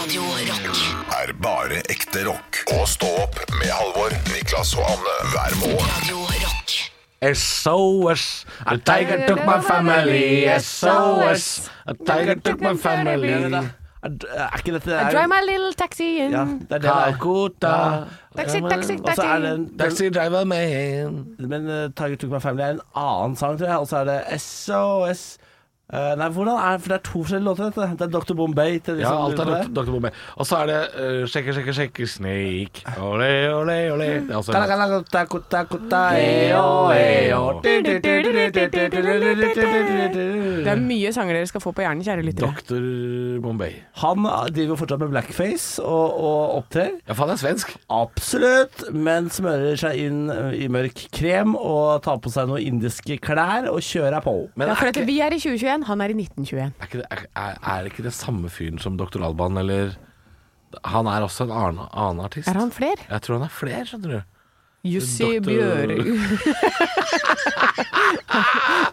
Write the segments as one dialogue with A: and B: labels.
A: Radio Rock.
B: er bare ekte rock. Og stå opp med Halvor, Niklas og Anne hver morgen.
A: Radio Rock.
C: SOS, a tiger took my family. SOS, a tiger took my family.
D: Er ikke dette
E: I
D: der?
E: drive my little taxi in.
D: Ja, det er det der.
C: Calcutta.
E: Taxi, taxi,
D: Og så er det en,
C: Taxi driver man.
D: den, men eh, Tiger Took My Family er en annen sang, tror jeg. Og så er det SOS Eh, Nei, hvordan er For det er to forskjellige låter, dette. Det er Dr. Bombay til de
C: Ja,
D: som
C: alt er
D: lurer på
C: Dr. Dr. Bombay. Og så er det eh, sjekke, sjekke, sjekke, snake. Ole, ole, ole. Det er altså også en låt.
E: Det er mye sanger dere skal få på hjernen, kjære lyttere.
C: Dr. Bombay.
D: Han driver fortsatt med blackface og, og opptrer.
C: Ja, faen, det er svensk.
D: Absolutt, men smører seg inn i mørk krem og tar på seg noen indiske klær og kjører på.
C: Men
E: Ja,
C: er
E: for
C: ikke,
E: dette, vi er i 2021, han er i 1921.
C: er, ikke det, er, er, er ikke det samme fyren som Dr. Alban, eller Han er også en annen, annen artist.
E: Er han fler?
C: Jeg tror han er flere, skjønner du.
E: Jussi
C: Doktor-
E: Bjørøy.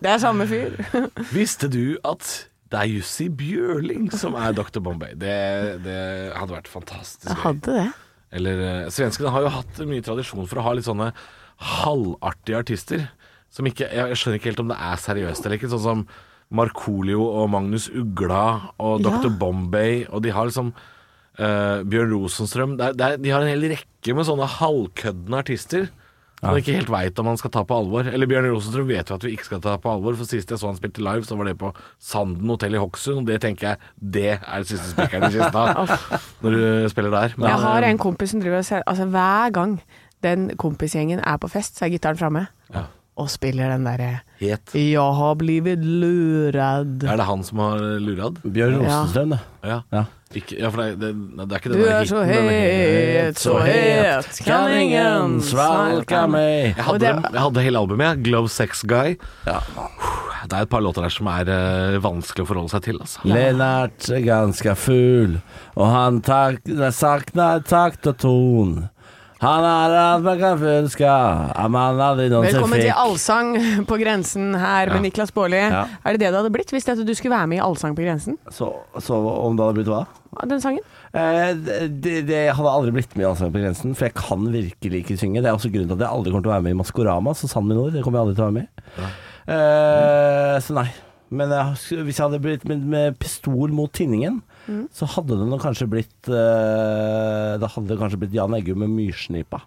E: Det er samme fyr.
C: Visste du at det er Jussi Bjørling som er Dr. Bombay? Det, det hadde vært fantastisk.
E: Jeg
C: gøy.
E: hadde det.
C: Eller, eh, svenskene har jo hatt mye tradisjon for å ha litt sånne halvartige artister. Som ikke, jeg, jeg skjønner ikke helt om det er seriøst eller ikke. Sånn som Markolio og Magnus Ugla og
E: Ja.
C: Dr. Bombay. Og de har liksom eh, Bjørn Rosenstrøm. Det er, det er, de har en hel rekke med sånne halvkøddende artister. Som man ikke helt veit om man skal ta på alvor. Eller Bjørn Rosenstrøm vet jo at vi ikke skal ta på alvor, for sist jeg så han spilte live, så var det på Sanden hotell i Hokksund, og det tenker jeg det er det siste spikeren i kista når du spiller der. Men,
E: Jeg har
C: eh,
E: en kompis som driver og ser Altså hver gang den kompisgjengen er på fest, så er gitaren framme.
C: Ja.
E: Og spiller den derre
C: Het.
E: 'Jeg har blivet lurad'.
C: Er det han som har lurad?
D: Bjørn
E: Ja.
D: Rosenstrøm, det.
C: Ja.
D: Ja.
C: Ikke, ja, for det, er- det, nei, det er ikke
E: Du
C: den der
E: er så
C: hiten, den er-
E: het, så het, kan ingen svelge meg.
C: Jeg
E: Og
C: hadde,
E: det-
C: dem, jeg hadde hele albumet, jeg. Glove Sex Guy. Det er et par låter der som er eh, vanskelig å forholde seg til, altså.
D: Lennart er ganske full, og han tak savner takt og ton. Han er alt man kan ønske at man aldri noensinne
E: Velkommen til
D: fikk.
E: Allsang på grensen her med Niklas Baarli.
D: Ja.
E: Er det det det hadde blitt hvis det at du skulle være med i Allsang på grensen?
D: Så, så om det hadde blitt hva?
E: av Den sangen?
D: Eh, det, det hadde aldri blitt med i Allsang på grensen, for jeg kan virkelig ikke synge. Det er også grunnen til at jeg aldri kommer til å være med i Maskorama, så sann min ord. Det kommer jeg aldri til å være med i. Eh, så nei. Men jeg, sk- hvis jeg hadde blitt med, med pistol mot tinningen, så hadde det nok kanskje blitt eh, Da hadde det kanskje blitt Jan Eggum med myrsnipa.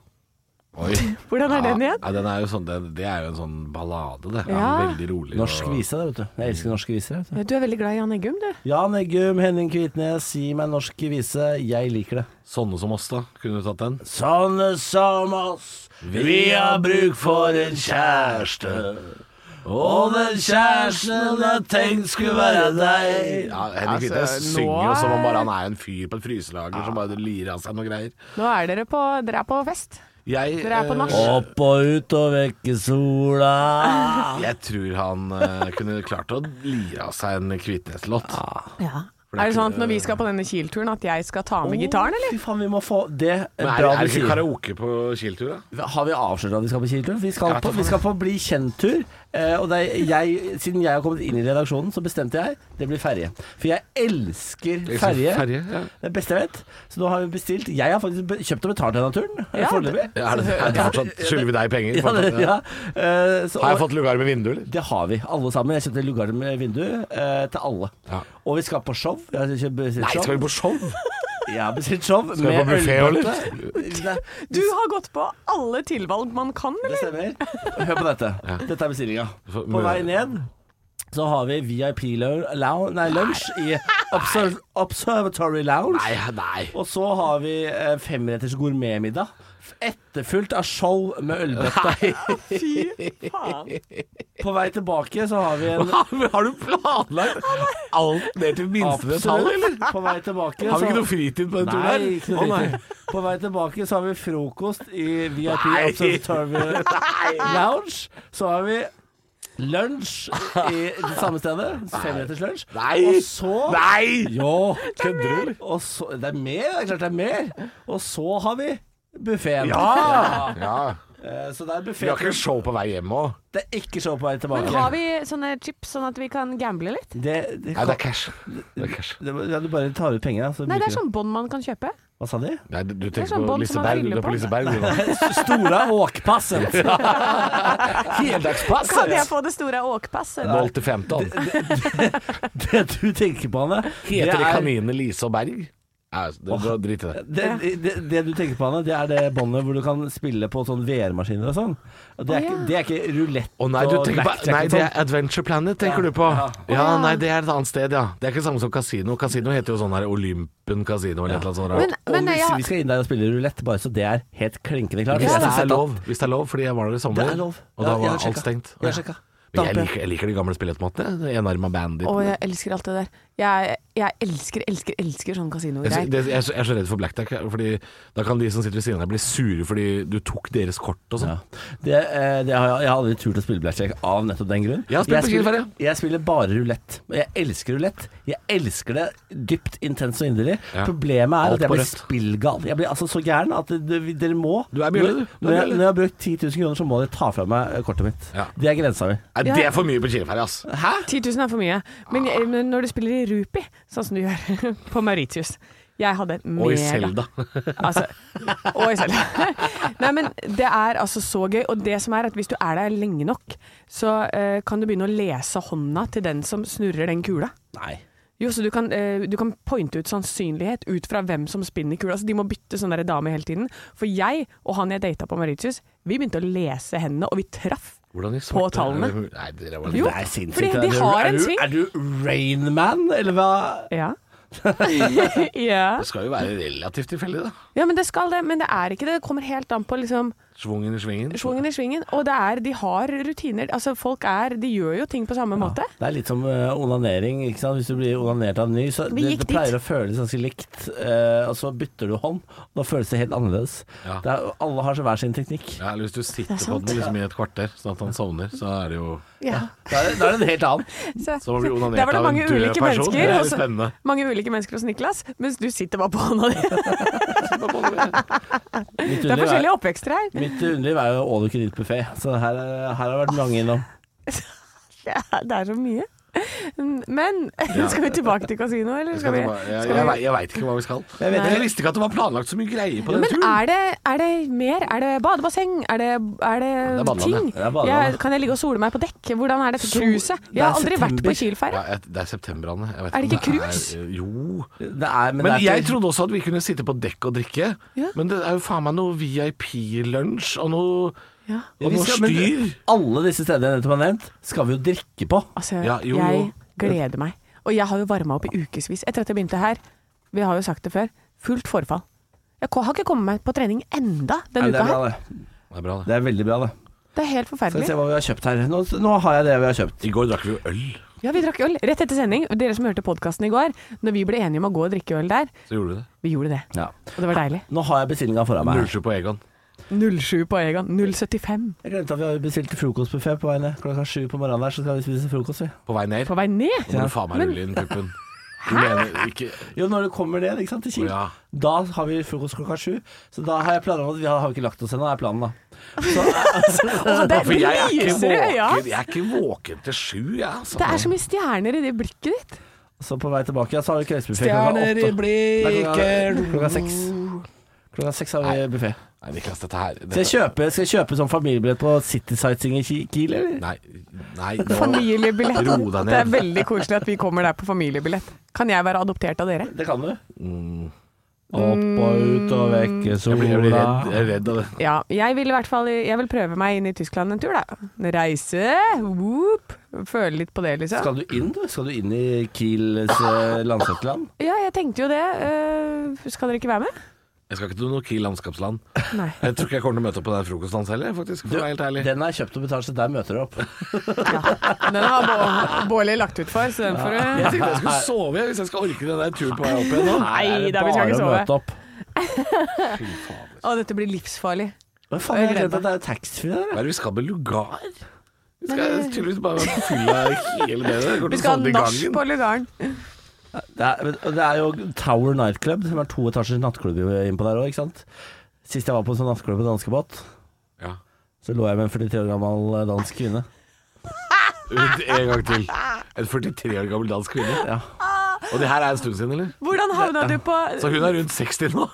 C: Oi.
E: Hvordan er den
C: Ja,
E: igjen?
C: ja, den er jo sånn, det, det er jo en sånn ballade, det.
E: Ja.
C: Veldig rolig.
D: Norsk
C: og-
D: vise, det, vet du. Jeg elsker norske viser. Vet du.
E: Du er veldig glad i Jan Eggum, du.
D: Jan Eggum, Henning Kvitnes, gi meg norsk vise. Jeg liker det.
C: Sånne som oss, da. Kunne du tatt den?
D: Sånne som oss, vi har bruk for en kjæreste. Og den kjæresten jeg tenkte skulle være deg.
C: Ja, Henrik
E: Altså,
C: Kvitnes
E: nå
C: synger jo som om
E: er-
C: bare han er en fyr på et fryselager som bare lirer av seg noe greier.
E: Nå er dere på, dere er på fest.
C: Jeg,
E: Dere er på
C: eh,
E: nach.
D: Opp og ut og vekke sola.
C: Jeg tror han eh, kunne klart å lire av seg en Kvitnes-låt. For det
E: Er det sånn
C: kunne-
E: at når vi skal på denne Kiel-turen at jeg skal ta med gitaren, eller?
D: Fy faen, vi må få det
C: Men
D: bra
C: er, er
D: du
C: det ikke
D: sier.
C: karaoke på Kiel-tur, da?
D: Har vi avslørt at vi skal på Kieltur? Vi skal
C: Jeg vet
D: på,
C: da
D: vi skal på Bli kjent-tur. eh, Og det er jeg, siden jeg har kommet inn i redaksjonen, så bestemte jeg det blir ferje. For jeg elsker ferje.
C: ja.
D: Det er beste jeg vet. Så nå har vi bestilt. Jeg har faktisk be- kjøpt og betalt denne turen. eh,
E: Ja,
D: Foreløpig.
C: Er det, er det fortsatt, skylder vi deg penger?
D: Ja, det,
C: fortsatt?
D: ja. Eh, så,
C: Har jeg
D: og,
C: fått lugar med vindu, eller?
D: det har vi, alle sammen. Jeg kjøpte lugar med vindu eh, til alle.
C: Ja.
D: Og vi skal på show. Jeg har kjøpt- bestilt show.
C: på show?
D: Jeg har bestilt show
C: Skal vi på buffé, eller?
D: eller?
E: Du har gått på alle tilvalg man kan,
D: Det
E: eller?
D: stemmer. Hør på dette. Dette er bestillinga.
C: For-
D: På vei ned så har vi VIP-lunsj i Obser Observatory Lounge.
C: Nei, nei.
D: Og så har vi eh, femretters gourmetmiddag. f- Etterfulgt av show med ølbøtte.
E: Fy faen.
D: På vei tilbake så har vi en
C: Har du planlagt alt ned til minste detalj, eller?
D: På vei tilbake
C: Har vi
D: så-
C: ikke noe fritid på den turen her?
D: Nei, ikke noe
C: Å, nei.
D: fritid. På vei tilbake så har vi frokost i altså VIP
C: Nei.
D: Observatory Lounge. Så har vi lunsj i det samme stedet. Femretters lunsj.
C: Nei.
D: Og så
C: Nei!
D: Jo,
C: Kødder du, eller?
D: og så, det er mer, det er klart det er mer. Og så har vi buffeen.
C: Ja! ja.
D: Eh, Så det er
C: Vi har
D: buffé.
C: ikke show på vei hjem òg.
D: Det er ikke show på vei tilbake.
E: Men har vi sånne chips sånn at vi kan gamble litt?
D: Det,
C: Nei,
D: det, kan,
C: det er cash. Det er cash.
D: det, ja, du bare tar ut penger, så
E: Nei, det er
D: bruker du
E: sånn bånd man kan kjøpe.
D: Hva sa de?
C: Nei, du
E: er
C: tenker
E: sånn
C: på
E: bånd som man
C: Liseberg. Du er
E: fyller
C: på
E: på.
C: Liseberg, du nå.
D: Store åkpasset. Heldagspasset.
E: Kan jeg få det store åkpasset?
C: 0 til 15.
D: Det du tenker på, Anne det
C: Heter de
D: er-
C: kaninene Lise og Berg? Nei, altså, det- det- Drit i det.
D: det, det, det du tenker på, Anne, det er det båndet hvor du kan spille på sånn VR-maskiner og sånn. Og
E: Å,
D: det, er
E: ja.
D: ikke, det er ikke rulett
C: Å nei, du
D: og
C: tenker på,
D: blackjack
C: nei,
D: og
C: det
D: sånn.
C: er Adventure Planet, tenker du på. Ja, nei, det er et annet sted, ja. Det er ikke det samme som kasino. Kasino heter jo sånn her Olympen kasino eller et eller annet sånt. rart.
E: Men, men
D: og
E: jeg,
D: hvis vi
E: har-
D: skal inn der og spille rulett, bare så det er helt klinkende klart.
C: Hvis,
D: Jeg
C: hvis det
D: synes
C: er
D: at-
C: lov, hvis det er lov, fordi jeg var der i sommer,
D: Det er lov.
C: og
D: Ja,
C: da
D: jeg
C: var
D: har sjekka.
C: alt stengt.
D: Jeg har sjekka.
C: Men jeg
D: Dampen.
C: liker, jeg liker de gamle spilleautomatene. Enarma bandit.
E: å, jeg elsker alt det der. Jeg, jeg elsker, elsker, elsker sånn
C: Jeg, sy-
E: kasinogreier.
C: det, jeg, er så- jeg er så redd for blackjack, Fordi da kan de som sitter ved siden av deg bli sure fordi du tok deres kort og sånn.
D: Ja. Det, eh, det har jeg, jeg har aldri turt å spille blackjack av nettopp den grunn.
C: Jeg har spilt på
D: spiller-
C: Kielferja.
D: jeg spiller bare rulett. Og jeg elsker rulett. Jeg elsker det dypt, intenst og inderlig.
C: Ja.
D: Problemet er
C: Alt
D: at jeg
C: på
D: blir
C: rødt.
D: spillgal. Jeg blir altså så gæren at det- det- dere må
C: Du er bjelle, du.
D: Når,
C: Du er
D: når, jeg,
C: bjelle.
D: når jeg har brukt 10 000 kroner, så må dere ta fra meg eh, kortet mitt.
C: Ja.
D: Det er grensa mi.
C: Nei, det er for mye på Kielferja, ass.
E: 10 000 er for mye. Men, jeg- men når du spiller i rupi, sånn som du gjør på Mauritius Jeg hadde en
C: Og i
E: mega-
C: Selda.
E: Altså, og i selv. Nei, men det er altså så gøy. Og det som er at hvis du er der lenge nok, så eh, kan du begynne å lese hånda til den som snurrer den kula.
D: Nei.
E: Jo, så du kan, eh, du kan pointe ut sannsynlighet ut fra hvem som spinner kula. Så de må bytte sånn der dame hele tiden. For jeg og han jeg data på Mauritius, vi begynte å lese hendene, og vi traff.
C: Hvordan i
E: På tallene.
C: Nei, dere var
E: Jo,
D: det er sinnssykt.
E: fordi
D: Er
E: de
D: du-
E: har
D: er
E: en
D: du-
E: sving.
D: Er du Rainman, eller hva?
E: Ja. ja.
C: Det skal jo være relativt tilfeldig, da.
E: ja, men det skal det. Men det er ikke det. Det kommer helt an på liksom
C: Svungen i svingen.
E: Svungen i svingen. Og det er, de har rutiner. Altså, folk er De gjør jo ting på samme måte.
D: Det er litt som eh, onanering. ikke sant? Hvis du blir onanert av en ny, så
E: Vi
D: det,
E: gikk
D: det
E: dit.
D: pleier å føles ganske likt. eh, og så bytter du hånd, og da føles det helt annerledes.
C: Ja.
D: Det er, alle har så hver sin teknikk.
C: Ja, eller hvis du sitter
E: Det er
C: på
E: sant.
C: den liksom i et kvarter, sånn at han sovner, så er det jo
E: Ja.
D: Da er, det- da er det en helt annen.
E: Så,
C: Så blir vi onanert
E: der var det
C: av en
E: mange
C: død
E: ulike
C: person.
E: mennesker.
C: Det er
E: hos-
C: spennende.
E: mange ulike mennesker hos Niklas, mens du sitter bare på hånda di.
D: Mitt
E: Det er
D: underliv er,
E: forskjellige oppvekster her.
D: mitt underliv er jo all you can eat-buffé, så her, er- her har vært mange innom.
E: Det er, det er så mye. Men skal vi tilbake til kasino, eller skal vi
C: Jeg, jeg,
E: skal vi-
C: jeg, veit ikke hva vi skal. Jeg,
E: vet ikke.
C: visste ikke at det var planlagt så mye greier på den
E: Men
C: turen.
E: er det, er det mer? Er det badebasseng? Er det, er det,
C: Det er badeland,
E: ting?
D: ja. Det er badeland,
E: Jeg, kan jeg ligge og sole meg på dekk? Hvordan er dette
D: Sol-
E: cruiset?
D: Det
E: Jeg har
D: er
E: aldri vært på
D: september.
E: Kielferja.
C: Ja, jeg, det er septembrene. Jeg vet
E: Er det
C: om
E: ikke cruise?
C: er- eh, Jo.
D: Det er, men
C: Men
D: det er
C: jeg
D: ikke-
C: trodde også at vi kunne sitte på dekk og drikke.
E: Ja.
C: Men det er jo faen meg noe VIP-lunsj og noe,
E: Ja.
D: Ja,
C: og
D: vi
C: noe
D: skal- men
C: styr.
D: Alle disse stedene jeg nettopp har nevnt, skal vi jo drikke på.
E: Altså,
C: Ja, jo, jo.
E: jeg gleder meg. Og jeg har jo varma opp i ukevis etter at jeg begynte her. Vi har jo sagt det før. Fullt forfall. Jeg ko- har ikke kommet meg på trening enda
D: Nei,
E: denne
D: det er
E: uka her.
D: bra, det.
C: Det er bra, det.
D: Det er veldig bra, det.
E: Det er helt
D: Skal vi
E: forferdelig.
D: se hva vi har kjøpt her. Nå, nå har jeg det vi har kjøpt.
C: I går drakk vi jo øl.
E: Ja, vi drakk øl rett etter sending. Dere som hørte podkasten i går, når vi ble enige om å gå og drikke øl der,
C: Så gjorde vi det.
E: vi gjorde det.
D: Ja.
E: Og det var deilig.
D: Nå har jeg bestillinga foran meg.
C: 07 på Egon.
E: 07 på Egon. 075
D: Jeg glemte at vi har bestilt frokostbuffé på vei ned. Klokka sju på morgenen der, så skal vi spise frokost, vi.
C: På vei ned.
E: på vei ned.
C: Nå må du faen meg rulle inn puppen. Du mener ikke
D: Jo, når du kommer ned ikke sant, til
C: Å,
D: Kiel,
C: ja.
D: da har vi frokost klokka sju. Så da har jeg planer om at vi har, har ikke lagt oss ennå, er planen, da. Så,
E: Å, det
C: For jeg er ikke
E: lyser i øya.
C: våken, jeg er ikke våken til sju, jeg, altså.
E: Det er så mye stjerner i det blikket ditt.
D: så på vei tilbake, ja, så har vi kveldsbuffé klokka åtte. Nei, klokka, klokka seks. Klokka seks har vi buffé.
C: Nei, Niklas, dette her
D: Skal
C: dette,
D: jeg kjøpe, skal jeg kjøpe sånn familiebillett på City Sightseeing i Ki- Kiel, eller?
C: Nei, nei nå,
E: Familiebillett.
C: Ro deg ned.
E: Det er veldig koselig at vi kommer der på familiebillett. Kan jeg være adoptert av dere?
D: Det kan du. Opp og ut og vekk sola
C: Mm. jeg blir, jeg blir redd, jeg er redd av det.
E: Ja, jeg vil i hvert fall jeg vil prøve meg inn i Tyskland en tur, da. Reise, whoop. Føle litt på det, liksom.
D: Skal du inn, du? Skal du inn i Kiels eh, landsetteland?
E: Ja, jeg tenkte jo det. Eh, skal dere ikke være med?
C: Jeg skal ikke til noe Kiel landskapsland.
E: Nei.
C: Jeg tror ikke jeg kommer til å møte opp på den frokosten hans heller, faktisk. For å være helt ærlig.
D: Den er kjøpt og betalt, så der møter du opp.
E: Den har Bå- Bårli lagt ut for, så den får
C: Jeg
E: du
C: tenkte jeg skulle sove jeg, hvis jeg skal orke den der turen på vei opp igjen nå.
E: Nei da, vi skal ikke sove. Å, dette blir livsfarlig.
D: Hva faen, jeg glemte at det er taxfree der.
C: Hva er det vi skal med lugar? Vi skal tydeligvis bare være på fylla hele døgnet. Går
E: Vi
C: til å sovne
E: skal ha
C: Sånn i
E: nach
C: gangen.
E: på lugaren.
D: Det er, men- og det er jo Tower Nightclub, som er to etasjers nattklubb innpå der òg, ikke sant. Sist jeg var på en sånn nattklubb på danskebåt,
C: Ja.
D: Så lå jeg med en 43 år gammel eh, dansk kvinne.
C: Ut en gang til. En 43 år gammel dansk kvinne.
D: Ja.
C: Og det her er en stund siden, eller?
E: Hvordan havna du på
C: Så hun er rundt 60 nå?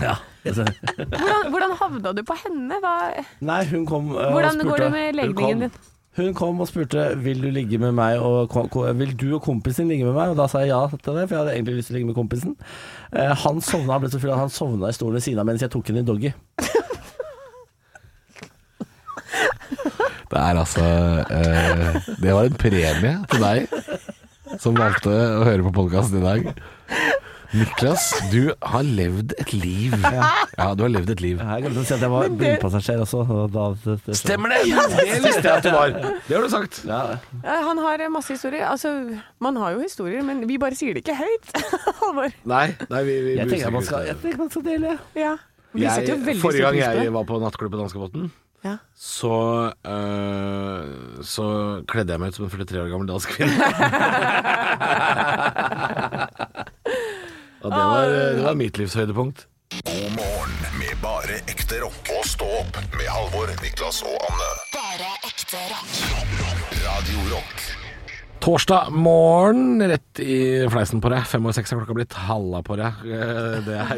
D: ja. Altså,
E: hvordan, hvordan havna du på henne? Hva,
D: Nei, hun kom eh,
E: hvordan
D: og spurte
E: går det med legebingen
C: Velkommen.
E: din?
D: Hun kom og spurte Vil du ligge med meg og, ko- ko- Vil du og kompisen din ligge med meg Og da sa jeg ja til det For jeg hadde egentlig lyst til å ligge med kompisen eh, Han sovna Han ble så full at han sovna i stolen ved siden av Mens jeg tok henne i doggy
C: Det er altså eh, Det var en premie til deg som valgte å høre på podkasten i dag. Niklas, du har levd et liv. Ja, du har levd et liv.
D: Jeg glemte å si at jeg var
E: det-
D: blindpassasjer også og da, det, det,
C: Stemmer det! Det visste jeg at du var. Det har du sagt.
D: ja.
E: Ja, Han har eh, masse historier. Altså, man har jo historier, men vi bare sier det ikke høyt. Halvor.
C: Nei, nei vi, vi
D: Jeg
C: bruser
D: tenker man
C: ikke
D: skal
C: ut
D: Jeg
C: det.
D: tenker man skal dele
E: Ja. Vi setter jo
C: jeg,
E: veldig
C: Forrige
E: stor
C: gang
E: pris på
C: jeg
E: det.
C: var på nattklubben Danskebotn,
E: Ja.
C: så, eh, så kledde jeg meg ut som en 43 år gammel dansk kvinne. Og det var, eh, det var mitt livs høydepunkt.
B: God morgen med bare ekte rock. Og stå opp med Halvor, Niklas og Anne.
A: Bare ekte rock.
B: Radio Rock.
C: Torsdag morgen, rett i fleisen på deg. Fem og seks er klokka blitt. Halla på deg. Eh, Det er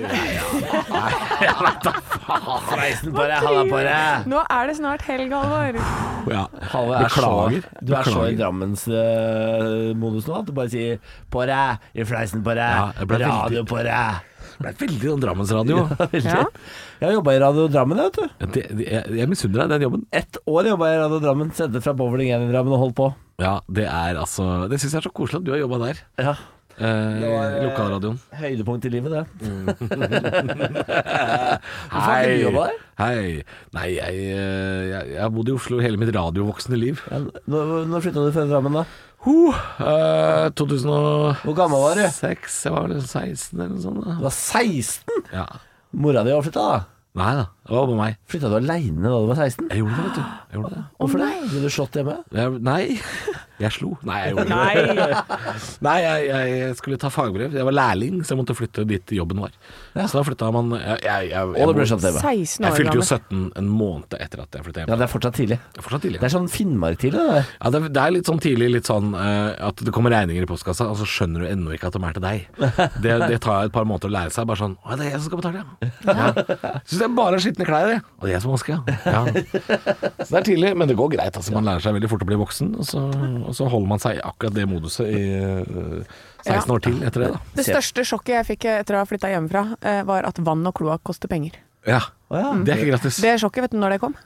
D: Ah, Reisen på deg, halla på deg
E: Nå er det snart helg, Halvor.
C: ja.
D: Halvor er
C: Beklager.
D: så, Du er så i
C: Beklager.
D: Drammens eh, modus nå At du bare sier På deg, i fleisen på
C: Ja,
D: deg
C: jeg ble veldig-
D: Radio på deg
C: Det er veldig sånn Drammensradio.
E: Ja.
D: Jeg jobba i Radio Drammen, vet du
C: Det- det- Jeg, jeg misunner deg den jobben.
D: Ett år jobba jeg i Radio Drammen, sendte fra bowling 1 i Drammen og holdt på.
C: Ja, det er altså Det syns jeg er så koselig at du har jobba der.
D: Ja.
C: Eh,
D: var, eh,
C: lokalradioen.
D: Høydepunkt i livet, det. Hvorfor har ikke du
C: Hei.
D: jobbet der?
C: Hei. Nei, jeg, eh, jeg, jeg har bodd i Oslo hele mitt radiovoksne liv.
D: Ja, Når, når flytta du fra Drammen, da?
C: Ho, eh, 2006
D: Hvor gammel var du?
C: Jeg var vel 16 eller noe sånt.
D: Du
C: da.
D: var 16!
C: Ja.
D: Mora di har flytta, da.
C: Nei da, det var bare meg.
D: Flytta du aleine da du var 16?
C: Jeg gjorde det, vet du. Jeg gjorde det.
D: Hvorfor det? Ble du slått hjemme?
C: Jeg, nei, jeg slo. Nei, jeg gjorde ikke det.
E: Nei.
C: Nei, jeg, jeg skulle ta fagbrev. Jeg var lærling, så jeg måtte flytte dit jobben var. Så da flytta man jeg, jeg, jeg,
D: Og det ble slått hjemme.
E: 16
C: Jeg
E: år
C: fylte jo
E: gammel.
C: 17 en måned etter at jeg flytta hjem.
D: Ja, det er fortsatt tidlig.
C: Det er fortsatt tidlig.
D: Det er sånn Finnmark-tidlig, det der.
C: Ja, det, er- det er litt sånn tidlig litt sånn eh, at det kommer regninger i postkassa, og så skjønner du ennå ikke at de er til deg. Det, det tar et par måneder å lære seg. Bare sånn Å, det er jeg som skal betale, ja. ja. Syns jeg bare har skitne klær, jeg. Og det er jeg som vasker, ja. ja. Så det er tidlig, men det går greit. Altså, man lærer seg veldig fort å bli voksen, og så, og så holder man seg i akkurat det moduset i eh, 16 år til etter det, da.
E: Det største sjokket jeg fikk etter å ha flytta hjemmefra, eh, var at vann og kloakk koster penger.
C: Ja.
D: Å ja.
C: Det er ikke gratis.
E: Det sjokket, vet du når det kom?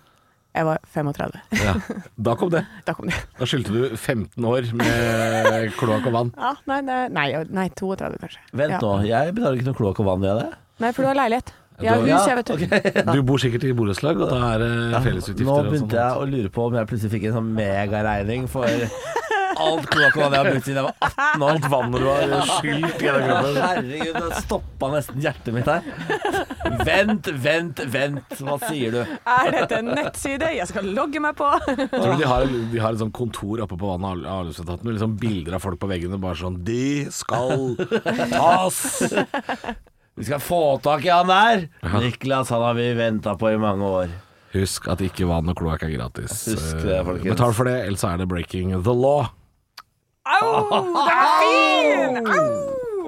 E: Jeg var 35.
C: Ja. Da kom det.
E: Da kom det.
C: Da skyldte du 15 år med kloakk og vann.
E: Ja, nei, nei, nei, nei 32 kanskje.
D: Vent
E: ja.
D: nå, jeg betaler ikke noe kloakk og vann, gjør jeg det?
E: Nei, for du har leilighet. Jeg har
C: Du-
E: hus,
D: Ja,
E: jeg, vet du.
C: Du bor sikkert i borettslag, og da er det fellesutgifter
D: Nå
C: og sånt.
D: begynte jeg å lure på om jeg plutselig fikk en sånn megaregning for alt kloakk og vann jeg har brukt siden jeg var 18 år. Alt vann og
C: Det er skylt i hele kroppen.
D: Herregud, det stoppa nesten hjertet mitt her. Vent, vent, vent. Hva sier du?
E: Er dette en nettside jeg skal logge meg på?
C: Tror du de har, de har et sånt kontor oppe på vannet av avløpsetaten med liksom bilder av folk på veggene bare sånn De skal tas!
D: Vi skal få tak i han der. Niklas, han har vi venta på i mange år.
C: Husk at ikke vann og kloakk er gratis.
D: Husk det,
C: Eh,
D: folkens.
C: Betal for det, ellers er det breaking the law.
E: Au! Det er fin! Au!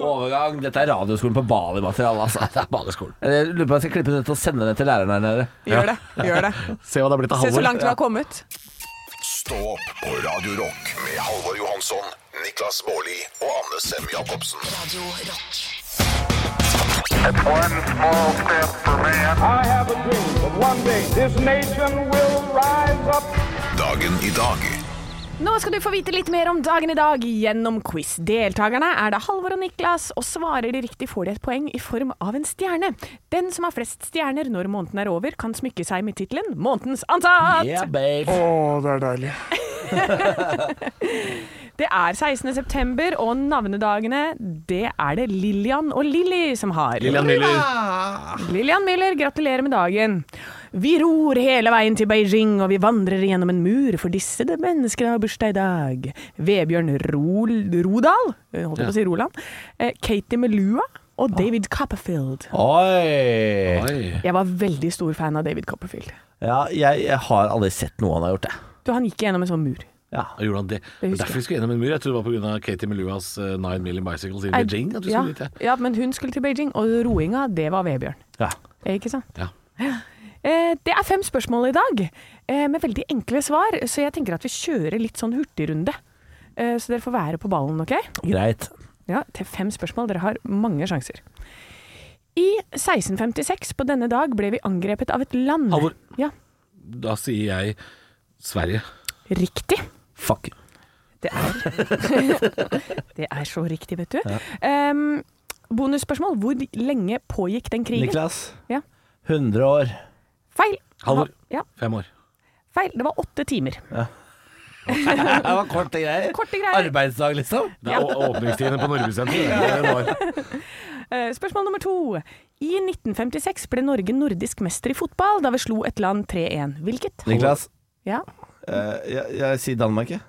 D: Overgang. Dette er radioskolen på Bali-materiale, altså.
C: Det er badeskolen.
D: Jeg lurer på om jeg skal klippe det ut og sende det til læreren her nede.
E: Gjør det. gjør det
C: Se hva det er blitt av
E: Se så
C: Halvor.
E: langt du har kommet.
B: Stå opp på Radio Rock med Halvor Johansson, Niklas Baarli og Anne Sem Jacobsen.
A: Radio rock.
F: It's one small step for man.
G: I have a dream that one day this nation will rise up.
B: Dagen i dag
E: Nå skal du få vite litt mer om dagen i dag gjennom quiz. Deltakerne er da Halvor og Niklas, og svarer de riktig får de et poeng i form av en stjerne. Den som har flest stjerner når måneden er over, kan smykke seg med tittelen 'Månedens ansatt'.
D: Yeah, babe.
E: Det er 16. september, og navnedagene det er det Lillian og Lilly som har.
C: Lillian Müller.
E: Lillian Müller, gratulerer med dagen. Vi ror hele veien til Beijing, og vi vandrer gjennom en mur, for disse det menneskene har bursdag i dag. Vebjørn Rol Rodal, eh, holdt jeg på å si Roland. Eh, Katie Melua, og David Copperfield.
D: Oi!
C: Oi.
E: Jeg var veldig stor fan av David Copperfield.
D: Ja, jeg, jeg har aldri sett noe han har gjort, jeg.
E: Du, han gikk gjennom en sånn mur.
D: Ja.
C: Da Gjorde han det? Det var
E: husker
C: derfor vi skulle gjennom en mur. Jeg trodde det var pga. Katie Meluas eh, Nine Million Bicycles i Beijing. At vi
E: ja,
C: skulle dit, ja.
E: ja, men hun skulle til Beijing, og roinga, det var Vebjørn.
D: ja.
E: Ikke sant?
C: Ja.
E: Eh, det er fem spørsmål i dag, eh, med veldig enkle svar, så jeg tenker at vi kjører litt sånn hurtigrunde. Eh, så dere får være på ballen, OK?
D: Greit.
E: Ja, til fem spørsmål. Dere har mange sjanser. I 1656 på denne dag ble vi angrepet av et land
C: Halvor.
E: Ja,
C: Da sier jeg Sverige.
E: riktig.
D: Fuck.
E: Det er, det er så riktig, vet du. Ehm, bonusspørsmål. Hvor lenge pågikk den krigen?
D: Niklas.
E: Ja.
D: 100 år.
E: Feil.
C: Halvor.
E: Ja,
C: Fem år.
E: feil. Det var åtte timer.
D: Det var korte greier.
E: Korte greier.
D: Arbeidsdag, liksom.
C: Det er å- åpningstidene på Norgesenteret.
E: Eh, Spørsmål nummer to. I 1956 ble Norge nordisk mester i fotball da vi slo et land 3-1. Hvilket?
D: Niklas,
E: Ja,
D: eh, jeg, jeg sier Danmark, jeg.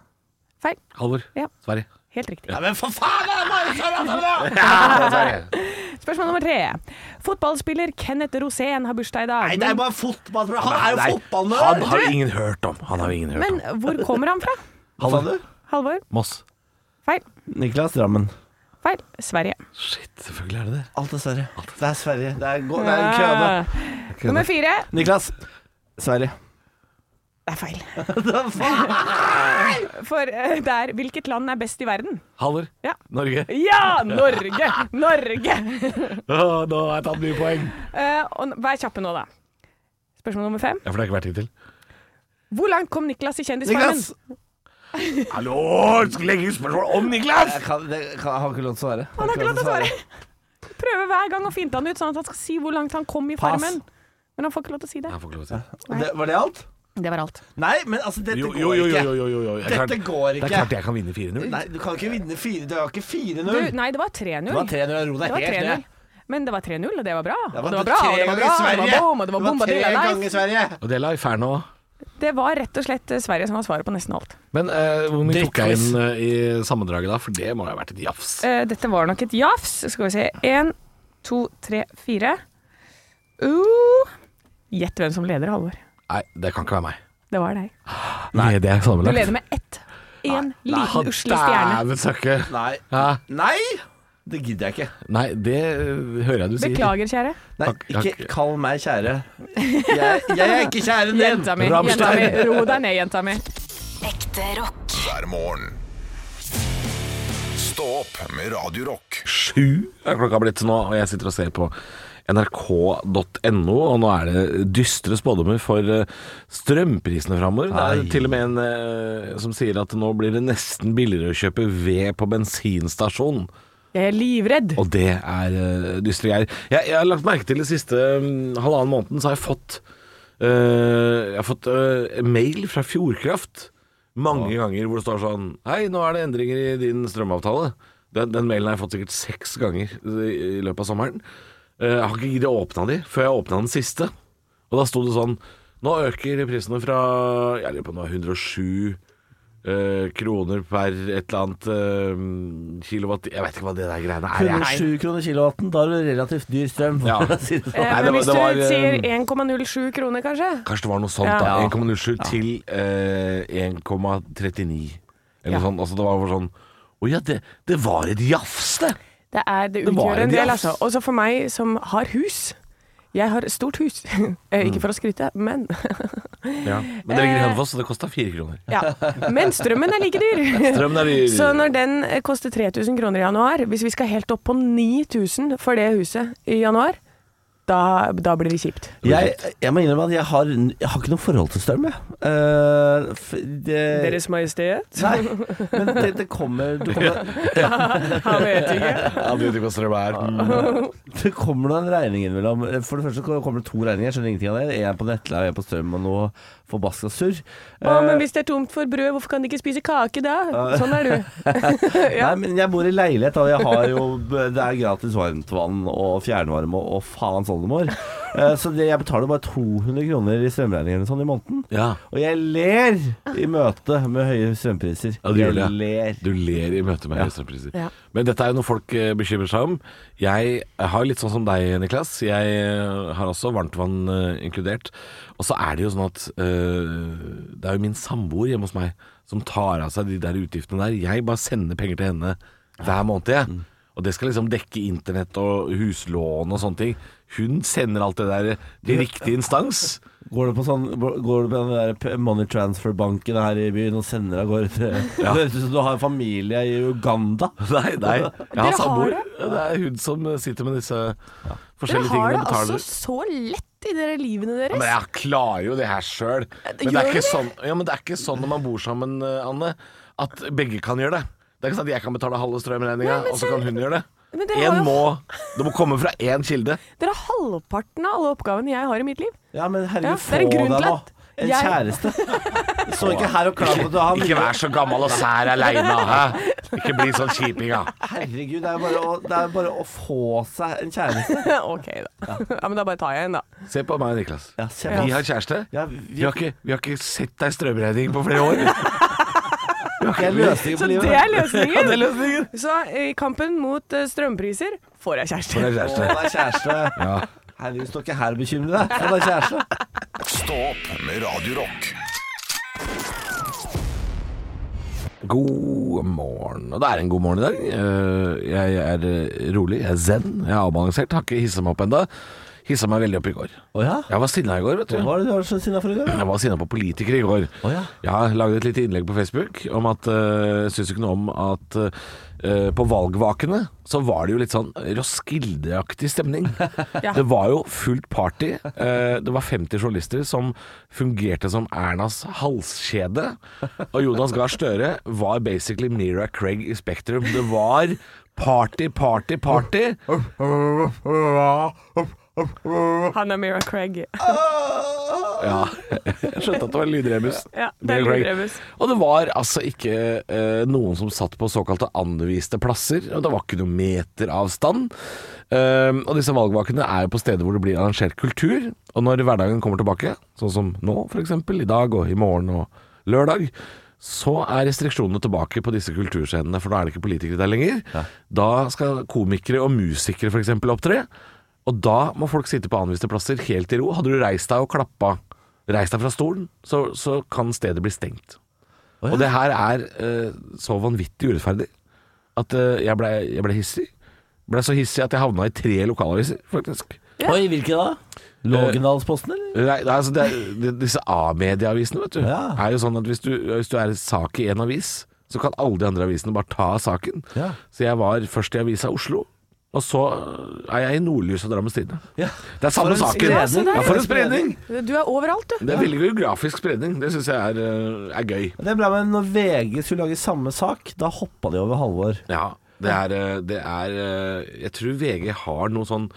E: feil.
C: Halvor.
E: Ja.
C: Sverige.
E: Helt riktig.
D: Ja, men for faen! da, Marius, hva er det for noe?
E: Spørsmål nummer tre. Fotballspiller Kenneth Rosén har bursdag i dag.
D: Nei, det er
E: men-
D: bare fotball. bro. Han er
C: Nei,
D: jo
C: Han
D: fotballnerd!
C: har ingen hørt om. Han har ingen hørt om.
E: Men hvor kommer han fra?
D: Hva sa du?
E: Halvor?
C: Moss.
E: Feil.
D: Niklas Drammen.
E: Feil. Sverige.
C: Shit, selvfølgelig er det det.
D: Alt er Sverige. Det er Sverige. Det er, gå- det er køene.
E: Ah. Nummer fire.
D: Niklas. Sverige.
E: Det er feil. For eh, det er hvilket land er best i verden?
C: Halvor.
E: Ja.
C: Norge.
E: Ja, Norge! Norge!
C: Åh, nå har jeg tatt mye poeng.
E: Eh, og n- vær kjappe nå, da. Spørsmål nummer fem.
C: Ja, for det har ikke vært hittil.
E: Hvor langt kom Niklas i Kjendisfarmen?
D: Niklas!
C: Hallo! Skal legge ut spørsmål om Niklas!
D: Jeg kan, det kan, jeg har ikke lov til å svare. Jeg
E: Han har ikke lov til å
D: svare.
E: svare. Prøver hver gang å finte han ut, sånn at han skal si hvor langt han kom i
D: Pass.
E: farmen. Men han får ikke lov til å si det.
C: Jeg får ikke lov til det.
D: Det, var det alt?
E: Det var alt.
D: Nei, men altså, dette
C: Jo,
D: går
C: jo, jo. jo,
D: ikke.
C: jo, jo, jo. Jeg
D: Dette
C: klart-
D: går
C: Det er
D: ikke.
C: klart jeg kan vinne 4-0.
D: Nei, du kan ikke vinne fire. Du har ikke
E: Du,
D: 4-0.
E: nei, det var 3-0.
D: Det var 3-0. Jeg Ro
E: Det
D: deg
E: var
D: helt
E: 3-0.
D: ned.
E: Men det var 3-0, og det var bra. Og Det
D: var
E: var bra, og
D: tre
E: det var bra, og
D: ganger i
E: det
D: Sverige.
E: var bom, og det var bom, og
D: tre
E: det var
D: ganger i
E: nice.
D: Sverige.
C: Og det la i ferna òg.
E: Det var rett og slett eh, Sverige som var svaret på nesten alt.
C: Men eh, hvor mye tok jeg
D: Drittquiz.
C: inn eh, i sammendraget da? For det må ha vært et jafs.
E: Eh, dette var nok et jafs. Skal vi se. Én, to, tre, fire. Uh. Gjett hvem som leder, Halvor.
C: Nei, det kan ikke være meg.
E: Det var deg.
C: Nei, det er
E: Du
C: sammenlagt.
E: leder med ett. En liten usle stjerne.
C: Dæven søkke.
D: Nei.
C: Ja.
D: Nei! Det gidder jeg ikke.
C: Nei, det øh, hører jeg du sier.
E: Beklager, kjære.
D: Nei,
C: Takk, takk.
D: ikke kall meg kjære. Jeg, jeg er ikke kjæren din.
E: Jenta mi. Jenta mi. Ro deg ned, jenta mi.
A: Ekte rock.
B: hver morgen. Stå opp med Radio Rock.
C: Sju er klokka blitt nå, og jeg sitter og ser på nrk.no, og nå er det dystre spådommer for øh, strømprisene framover. Det er til og med en øh, som sier at nå blir det nesten billigere å kjøpe ved på bensinstasjon.
E: Jeg er livredd.
C: Og det er eh, dystre greier. Jeg, jeg har lagt merke til det siste mm, halvannen måneden så har jeg fått eh, Jeg har fått eh, mail fra Fjordkraft mange ganger hvor det står sånn Hei, nå er det endringer i din strømavtale. Den, den mailen har jeg fått sikkert seks ganger i, i løpet av sommeren. Eh, jeg har ikke giddet å åpne de før jeg åpna den siste. Og da sto det sånn Nå øker prisene fra Jeg lurer på nå 107 eh, kroner per et eller annet eh, kilowatt Jeg vet ikke hva det der greiene er. jeg.
D: 107 kroner kilowatten, da har du relativt dyr strøm.
C: Ja.
D: Si det sånn.
E: Eh,
C: Nei, det
E: men
C: var-
E: hvis
C: det
E: du
C: var, eh,
E: sier 1,07 kroner, kanskje?
C: Kanskje det var noe sånt,
E: Ja.
C: da. 1,07 til eh, 1,39. Eller
E: Ja.
C: sånn. Altså, det var bare sånn Å ja, det, det var et jafs, det!
E: Det, er, det
C: Det var
E: utgjør
C: en
E: en del,
C: jafs.
E: altså. Også for meg som har hus. Jeg har stort hus. Eh,
C: Mm.
E: Ikke for å skryte, men
C: Men det
E: Eh.
C: ligger i Hønefoss, så det kosta fire kroner.
E: ja. Men strømmen er like dyr.
C: Strømmen er dyr.
E: Så når den eh, koster 3000 kroner i januar, hvis vi skal helt opp på 9000 for det huset i januar, da, da blir det kjipt.
D: Jeg, jeg må innrømme at jeg har, jeg har ikke noe forhold til strøm, jeg. Eh, f- det,
E: Deres Majestet?
D: nei, men det, det kommer Det kommer,
E: Han vet ikke.
C: Jeg vet ikke hva strøm er.
D: det kommer noen regninger innimellom. For det første så kommer det to regninger, jeg skjønner ingenting av det. En på nettleie, en på strøm og noe forbaska surr. Eh,
E: Å, men hvis det er tomt for brød, hvorfor kan de ikke spise kake da? Sånn er du.
D: Nei, men jeg bor i leilighet, og jeg har jo Det er gratis varmtvann og fjernvarme og, og faens oldemor. Eh, Så det, jeg betaler bare 200 kroner i strømregninger eller sånn i måneden.
C: Ja.
D: Og jeg ler i møte med høye strømpriser.
C: Ja, du gjør det.
D: Jeg ler.
C: Du ler i møte med høye strømpriser.
E: Ja.
C: Men dette er jo noe folk eh, bekymrer seg om. Jeg har litt sånn som deg, Niklas. Jeg eh, har også varmtvann eh, inkludert. Og så er det jo sånn at eh, det er jo min samboer hjemme hos meg som tar av seg de der utgiftene der. Jeg bare sender penger til henne hver måned,
D: Mm.
C: jeg. Og det skal liksom dekke internett og huslån og sånne ting. Hun sender alt det der til riktig instans.
D: Går du på, sånn, går du på den der p- money transfer-banken her i byen og sender av gårde til
C: Ja.
D: Det høres ut som du har familie i Uganda.
C: Nei, nei. Jeg
E: Dere har
C: har samboer.
E: det?
C: Ja, Det er hun som eh, sitter med disse
E: Dere
C: forskjellige
E: har
C: tingene
E: det
C: og betaler.
E: altså så lett i dere livene
C: Ja,
E: deres.
C: Men jeg klarer jo det her sjøl. Men, det
E: Gjør
C: er
E: du
C: ikke
E: det?
C: sånn, ja, men det er ikke sånn når man bor sammen, eh, Anne, at begge kan gjøre det. Det er ikke sånn at jeg kan betale halve strømregninga,
E: Nei, men
C: og så
E: så-
C: kan hun gjøre det.
E: Men dere,
C: En
E: har
C: må,
E: jo,
C: det må komme fra én kilde.
E: dere har halvparten av alle oppgavene jeg har i mitt liv.
D: Ja, men herregud,
E: Ja, det
D: få
E: er en
D: deg
E: grunn til
D: nå
E: at
D: en
E: jeg-
D: kjæreste. Så ikke her og klag på at du har
C: Ikke
D: mye
C: vær så gammel og sær aleine, hæ? Ikke bli sånn kjiping, da.
D: Herregud, det er jo bare, å- det er bare å få seg en kjæreste.
E: ok, da. Ja, Men da bare tar jeg en, da.
C: Se på meg og Niklas.
D: Ja, se på
C: Vi
D: oss.
C: har kjæreste.
D: Ja,
C: Vi
D: vi,
C: har ikke, vi har ikke sett deg strømregning på flere år.
D: det er løsningen på
E: Så det
D: livet.
E: er løsningen. Så i kampen mot eh, strømpriser får jeg
C: For det
E: kjæreste.
C: er
D: Få
C: kjæreste.
D: deg kjæreste.
C: Ja.
D: Herregud, stå ikke her og bekymre deg. Få deg kjæreste.
B: Stå opp med Radio Rock.
C: God morgen. Og det er en god morgen i dag. Eh, Jeg er eh, rolig, jeg er zen, jeg er avbalansert. Har ikke hissa meg opp ennå. Hissa meg veldig opp i går.
D: Å ja?
C: Jeg var sinna i går, vet
D: Hva
C: du.
D: var det du var så sinna for i går? da?
C: Jeg var sinna på politikere i går.
D: Å ja.
C: Jeg lagde et lite innlegg på Facebook om at uh, syns ikke noe om at eh, på valgvakene så var det jo litt sånn Roskilde-aktig stemning.
E: Ja.
C: Det var jo fullt party. Eh, det var 50 journalister som fungerte som Ernas halskjede. Og Jonas Gahr Støre var basically Mira Craig i Spektrum. Det var party, party, party.
E: Han er Mira Craig.
C: Ja, jeg skjønte at det var en lydrebus.
E: Ja, det er en
C: Craig.
E: lydrebus.
C: Og det var altså ikke eh, noen som satt på såkalte anviste plasser, og det var ikke noen meteravstand. Um, og disse valgvakene er jo på steder hvor det blir arrangert kultur, og når hverdagen kommer tilbake, sånn som nå f.eks., i dag og i morgen og lørdag, så er restriksjonene tilbake på disse kulturscenene, for da er det ikke politikere der lenger. Da skal komikere og musikere f.eks. opptre, og da må folk sitte på anviste plasser helt i ro. Hadde du reist deg og klappa, reist deg fra stolen, så, så kan stedet bli stengt.
D: Å ja.
C: Og det her er eh, så vanvittig urettferdig at eh, jeg blei ble hissig. Blei så hissig at jeg havna i tre lokalaviser, faktisk.
D: Oi, hvilke da? Lågendalsposten, eller?
C: Nei, nei, altså det er, de, disse A-medieavisene, vet du,
D: Ja.
C: er jo sånn at hvis du, hvis du er sak i én avis, så kan alle de andre avisene bare ta saken.
D: Ja.
C: Så jeg var først i avisa Oslo, og så eh, er jeg i Nordlys og Drammens Tidende.
D: Ja.
C: Det er samme
D: For en
C: saken.
D: spredning.
C: Ja, så der- Ja, for en spredning!
E: Du er overalt, du.
C: Det er veldig geografisk spredning. Det syns jeg er, eh, er gøy.
D: Det er bra, men når VG skulle lage samme sak, da hoppa de over Halvor.
C: Ja, det er, eh, det er eh, Jeg tror VG har noe sånn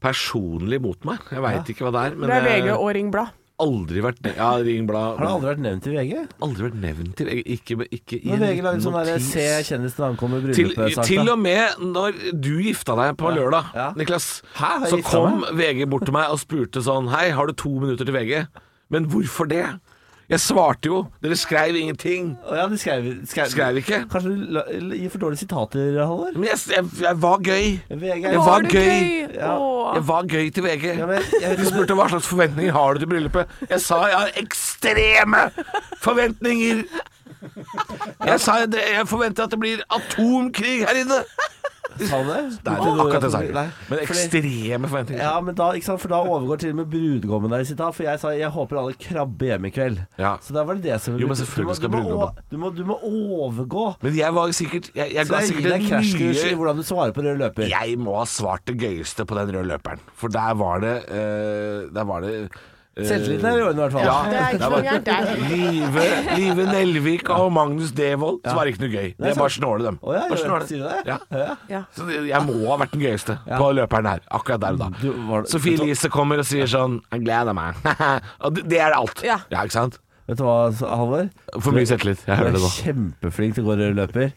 C: personlig mot meg. Jeg veit ikke hva det er. Men
E: Det er
C: jeg
E: VG og Ring Blad.
C: har aldri vært ne- Ja, Ring Blad.
D: Har det aldri vært nevnt i VG?
C: aldri vært nevnt til VG. Ikke, ikke i
D: Når VG lagde sånn derre
C: notis.
D: 'Se kjendisen ankommer
C: til,
D: bryllupet'-sak.
C: til
D: da.
C: og med når du gifta deg på lørdag,
D: ja.
C: Niklas,
D: Hæ, har
C: så
D: jeg gifta
C: kom VG bort til meg og spurte sånn Hei, har du to minutter til VG? Men hvorfor det? Jeg svarte jo. Dere skreiv ingenting.
D: Å Ja, de skrev, skrev,
C: Skrev ikke.
D: Kanskje du la- gir for dårlige sitater, Halvor?
C: Men jeg, jeg, jeg var gøy.
D: VG
C: Det
D: er
C: var
E: det
C: gøy.
D: Ja.
E: Åh.
C: Jeg var gøy til VG.
D: Ja, men jeg vet
C: Du
D: ikke om
C: spurte hva slags forventninger har du til bryllupet. Jeg sa jeg har ekstreme forventninger. Jeg sa jeg- jeg forventer at det blir atomkrig her inne.
D: du sa det.
C: Nei, det
D: Til
C: var
D: noe-
C: akkurat det jeg sa.
D: Nei,
C: Men
D: fordi-
C: ekstreme forventninger.
D: Ja, men da, ikke sant? For da overgår til og med brudgommen der i sitt av, For jeg sa 'jeg håper alle krabber hjem i kveld'.
C: Ja.
D: Så da var det det som
C: Jo, men
D: Du må-
C: selvfølgelig skal
D: du må
C: brudgommen.
D: o- Du må, du må overgå.
C: Men jeg var sikkert Jeg, jeg
D: Så
C: ga
D: jeg gir
C: sikkert
D: deg
C: en
D: krasjkurs i
C: mye
D: hvordan du svarer på rød løper.
C: Jeg må ha svart det gøyeste på den røde løperen. For der var det eh, Der var det eh,
D: Selvtilliten er i orden, i hvert fall.
C: Ja,
E: Det
C: der
E: er ikke
C: var-
E: noe gærent der.
C: Live, Live Nelvik og Magnus Devold Så var det ikke noe gøy Det er bare snåle dem
D: Å ja,
C: Bare
D: gjør-
C: snåle.
D: sier du det?
C: Ja.
E: Ja.
C: Så det- jeg må ha vært den gøyeste På løperen her Akkurat der og da
D: Du, var det-
C: Sofie Lise kommer og sier sånn Jeg gleder meg Og det, det er alt
E: Ja.
C: ikke sant?
D: Vet du hva, Halvor?
C: For mye sett litt Jeg hører
D: Du
C: det
D: er
C: nå
D: kjempeflink til å gå rød løper.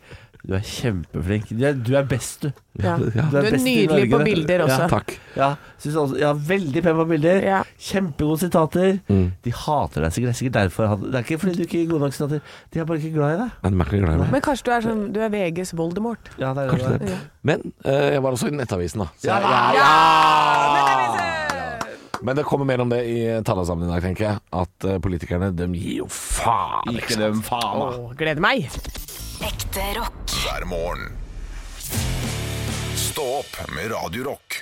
D: Du er kjempeflink. Du er, du er best, du.
C: Ja.
E: Ja. Du er
D: best
E: nydelig
D: i Norge,
E: på
D: vet du.
E: bilder også.
C: Takk.
D: Ja, synes også, ja veldig pen på bilder.
E: Ja.
D: Kjempegode sitater.
C: Mm.
D: De hater deg sikkert. Det er sikkert derfor han- Det er ikke fordi du ikke er god nok sitater. De er bare ikke glad i deg.
C: Men, merkelig glad i meg.
E: Men kanskje du er, sånn, du er VGs Voldemort.
D: Ja, det er
C: Kanskje
D: det.
C: det. Men eh, jeg var også i Nettavisen, da. Så,
E: Ah,
C: Men det kommer mer om det i talesammen i dag, tenker jeg. At eh, politikerne, de gir jo faen. liksom. Ikke dem faen, da.
E: Å, gleder meg!
A: Ekte rock.
B: hver morgen. Stå opp med Radio Rock.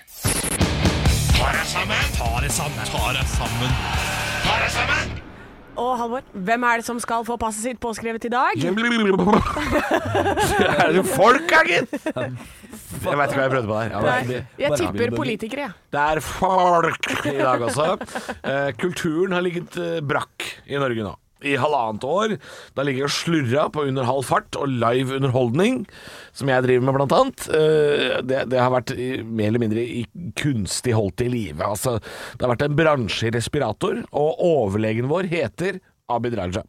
E: Og Halvor, hvem er det som skal få passet sitt påskrevet i dag?
C: Det er jo folka, gitt! Jeg veit ikke hva jeg prøvde på der. Ja,
E: Nei,
C: det-
E: Jeg
D: Bare-
E: tipper politikere, jeg.
C: Det er folk i dag også. Eh, kulturen har ligget eh, brakk i Norge nå. I halvannet år. Da ligger jeg og slurra på under halv fart og live underholdning, som jeg driver med blant annet. Eh, det, det har vært i, mer eller mindre i kunstig holdt i live. Altså, det har vært en bransje i respirator, og overlegen vår heter Abid Raja.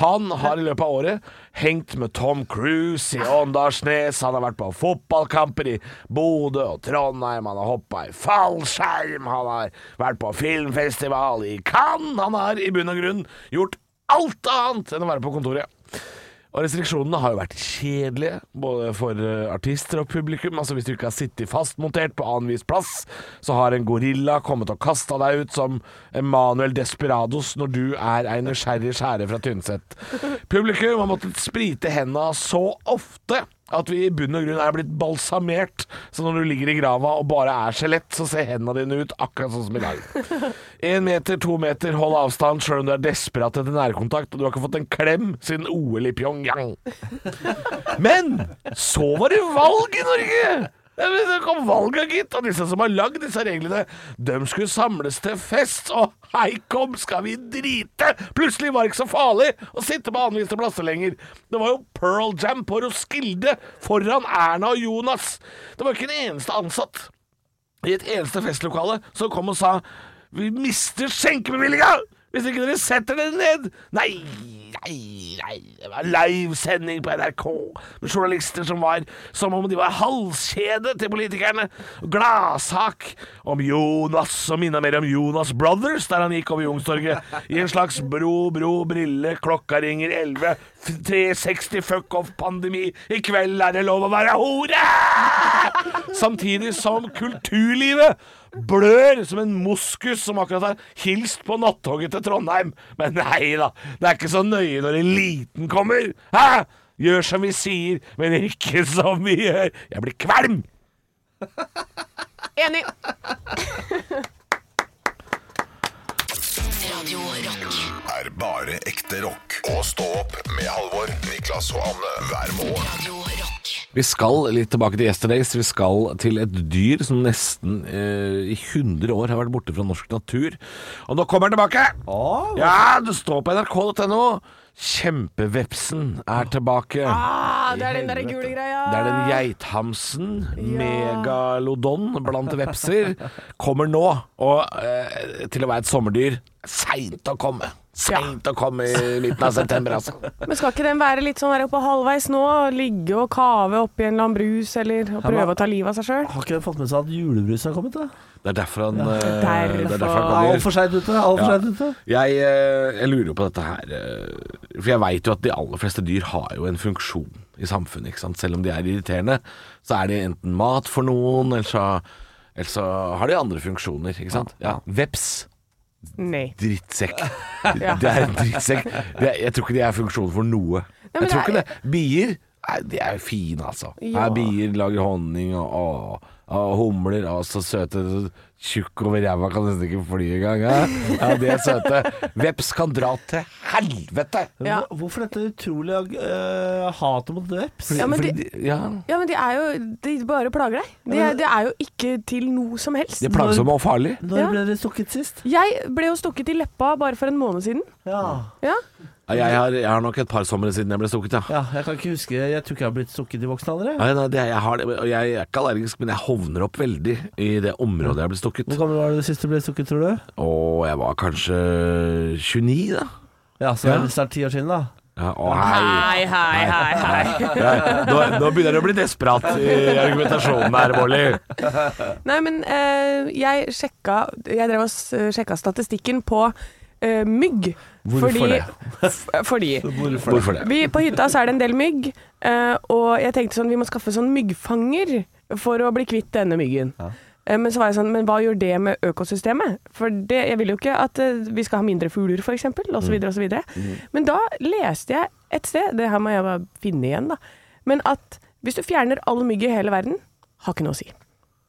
C: Han har i løpet av året hengt med Tom Cruise i Åndalsnes, han har vært på fotballkamper i Bodø og Trondheim, han har hoppa i fallskjerm, han har vært på filmfestival i Cannes, han har i bunn og grunn gjort alt annet enn å være på kontoret. Og restriksjonene har jo vært kjedelige, både for eh, artister og publikum. Altså Hvis du ikke har sittet fastmontert på annenvis plass, så har en gorilla kommet og kasta deg ut som Emanuel Desperados når du er ei nysgjerrig skjære fra Tynset. Publikum har måttet sprite henda så ofte at vi i bunn og grunn er blitt balsamert. Så når du ligger i grava og bare er skjelett, så ser hendene dine ut akkurat sånn som i dag. Én meter, to meter, hold avstand sjøl om du er desperat etter nærkontakt, og du har ikke fått en klem siden OL i Pyongyang. Men så var det valg i Norge! Ja, men Det kom valga, gitt, og disse som har lagd disse reglene, de skulle samles til fest, og hei kom, skal vi drite! Plutselig var det ikke så farlig å sitte på annenviste plasser lenger. Det var jo Pearl Jam på Roskilde foran Erna og Jonas. Det var ikke en eneste ansatt i et eneste festlokale som kom og sa Vi mister skjenkebevillinga hvis ikke dere setter dere ned! Nei, nei, nei. Det var livesending på NRK med journalister som var som om de var halskjede til politikerne. Gladsak om Jonas, som minna mer om Jonas Brothers, der han gikk over Youngstorget i en slags bro, bro, brille, klokka ringer 11, f- 360 fuck off-pandemi, i kveld er det lov å være hore! Samtidig som kulturlivet blør som en moskus som akkurat har hilst på nattoget til Trondheim. Men nei da, det er ikke så nøye når eliten kommer. Hæ? Gjør som vi sier, men ikke som vi gjør. Jeg blir kvalm!
E: Enig.
A: Radio Rock.
B: Er bare ekte rock. Og stå opp med Halvor, Niklas og Anne hver morgen.
A: Radio Rock.
C: Vi skal litt tilbake til Yesterdays. Vi skal til et dyr som nesten eh, i 100 år har vært borte fra norsk natur. Og nå kommer den tilbake! Ja, det står på nrk.no. Kjempevepsen er tilbake.
E: Ah, det er den der gule greia.
C: Det er den geithamsen, megalodon blant vepser, kommer nå. Og eh, til å være et sommerdyr, seint å komme. Seint å komme i midten av september, altså.
E: Men skal ikke den være litt sånn der oppe halvveis nå? Ligge og kave oppi en eller annen brus, eller og prøve å ta livet av seg sjøl?
D: Har ikke dere fått med seg at julebrusen har kommet? da?
C: Det er derfor han, eh,
E: Derfor.
C: det er derfor han
D: Ja,
C: kommer.
D: Altfor seint ute. Alt for
C: Ja.
D: sent ute.
C: Jeg, eh, jeg lurer jo på dette her eh, For jeg veit jo at de aller fleste dyr har jo en funksjon i samfunnet. Ikke sant? Selv om de er irriterende, så er de enten mat for noen, eller så, eller så har de andre funksjoner. Ikke sant? Ja. Veps.
E: Nei.
C: Drittsekk. Det er en drittsekk. Det er, jeg tror ikke de er funksjon for noe.
E: men
C: jeg tror
E: det
C: ikke det. Bier nei, de er fine, altså.
E: Ja.
C: Nei, bier lager honning og, og, og humler. Og så søte. så Tjukk over ræva kan nesten ikke fly engang. Ja. ja, de er søte. Veps kan dra til helvete!
E: Ja.
D: Hvor- Hvorfor dette utrolige øh, hatet mot veps?
E: Ja, men
C: Fordi
E: de,
C: de, ja,
E: ja, men de er jo De bare plager deg. Det er, de er jo ikke til noe som helst.
C: de er plagsomme og farlige.
D: Når
E: Ja.
D: ble dere stukket sist?
E: Jeg ble jo stukket i leppa bare for en måned siden.
D: Ja.
E: Ja.
C: Ja, Jeg har, jeg har nok et par somre siden jeg ble stukket, ja.
D: ja, jeg kan ikke huske Jeg tror ikke jeg har blitt stukket i voksen alder. jeg.
C: Nei, nei, det, jeg, har, det, og jeg er ikke allergisk, men jeg hovner opp veldig i det området jeg ble stukket.
D: Hvor gammel var du det siste du ble stukket, tror du?
C: Og jeg var kanskje 29 da
D: Ja, så er det snart ti år siden, da.
C: Ja, å, hei.
E: Hei, hei, hei, hei.
C: Ja, nå, nå begynner du å bli desperat i argumentasjonen her, Molly.
E: Nei, men eh, jeg sjekka Jeg drev og s- eh, sjekka statistikken på eh, mygg.
D: Hvorfor det?
E: f- fordi
D: Hvorfor,
C: Hvorfor det?
E: vi, På hytta så er det en del mygg, eh, og jeg tenkte sånn Vi må skaffe sånn myggfanger for å bli kvitt denne myggen. Eh, Men så var jeg sånn, men hva gjør det med økosystemet? For det, jeg vil jo ikke at eh, vi skal ha mindre fugler f.eks. osv.
D: Mm.
E: osv. Men da leste jeg et sted, det her må jeg bare finne igjen, da, men at hvis du fjerner all mygg i hele verden, har ikke noe å si.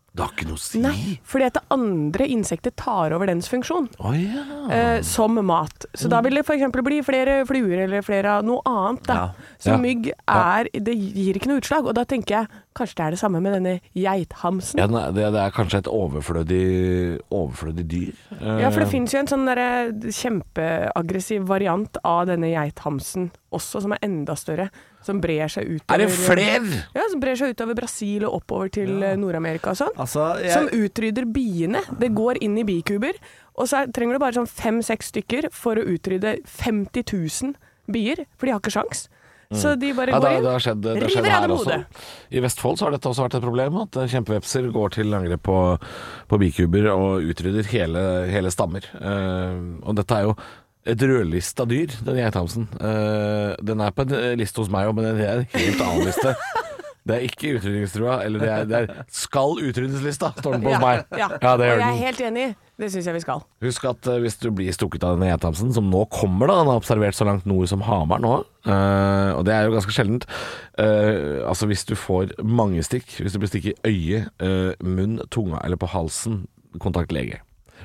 C: Det har ikke noe å si.
E: Nei, fordi at andre insekter tar over dens funksjon
C: Å, ja.
E: eh, som mat. Så
C: Mm.
E: da vil det f.eks. bli flere fluer eller flere av noe annet. Da. Så
C: Ja.
E: mygg er Det gir ikke noe utslag. Og da tenker jeg kanskje det er det samme med denne geithamsen.
C: Ja,
E: Ja,
C: nei, det, det er kanskje et overflødig, overflødig dyr. Eh,
E: for det finnes jo en sånn derre kjempeaggressiv variant av denne geithamsen også, som er enda større. Som brer seg utover
C: er det fler?
E: Ja, som brer seg utover Brasil og oppover til eh, Nord-Amerika og sånn.
D: Altså, jeg,
E: Som utrydder biene. Det går inn i bikuber. Og så er- trenger du bare sånn fem-seks stykker for å utrydde 50 000 bier, for de har ikke sjans. Så de bare
C: Mm. Ja,
E: går
C: det,
E: inn.
C: det har skjedd, det har skjedd
E: river av
C: her
E: dem
C: også.
E: hodet.
C: I Vestfold så har dette også vært et problem, at eh, kjempevepser går til angrep på, på bikuber og utrydder hele, hele stammer. Eh, og dette er jo et rødlista dyr, den geithamsen. Eh, den er på en eh, liste hos meg òg, men det er en helt annen liste. Det er ikke utrydningstrua, eller det er, det er 'skal utryddes'-lista, står den på hos meg.
E: Ja.
C: Ja, det
E: og
C: gjør
E: jeg er
C: den.
E: helt enig. Det syns jeg vi skal.
C: Husk at eh, hvis du blir stukket av denne gjetamsen, som nå kommer, da, han er observert så langt nord som Hamar nå, eh, og det er jo ganske sjeldent eh, Altså hvis du får mange stikk, hvis du blir stikk i øyet, eh, munn, tunga eller på halsen, kontakt lege.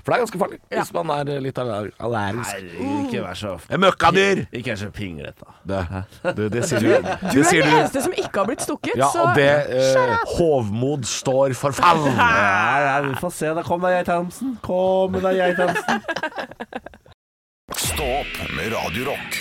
C: For det er ganske farlig hvis man er eh, litt aller- allergisk.
D: Herregud, ikke vær så
C: En møkkadyr!
D: Ikke vær så pinglete, da.
C: Det, det, det sier du.
E: Du
C: Det
E: er
C: sier
E: den
C: du.
E: eneste som ikke har blitt stukket,
C: Ja,
E: så
C: og det eh, Hovmod står for fall.
D: Nei, nei, vi får se. Da kom deg, Geithamsen. Kom deg, Geithamsen.
B: Stå opp med Radio Rock.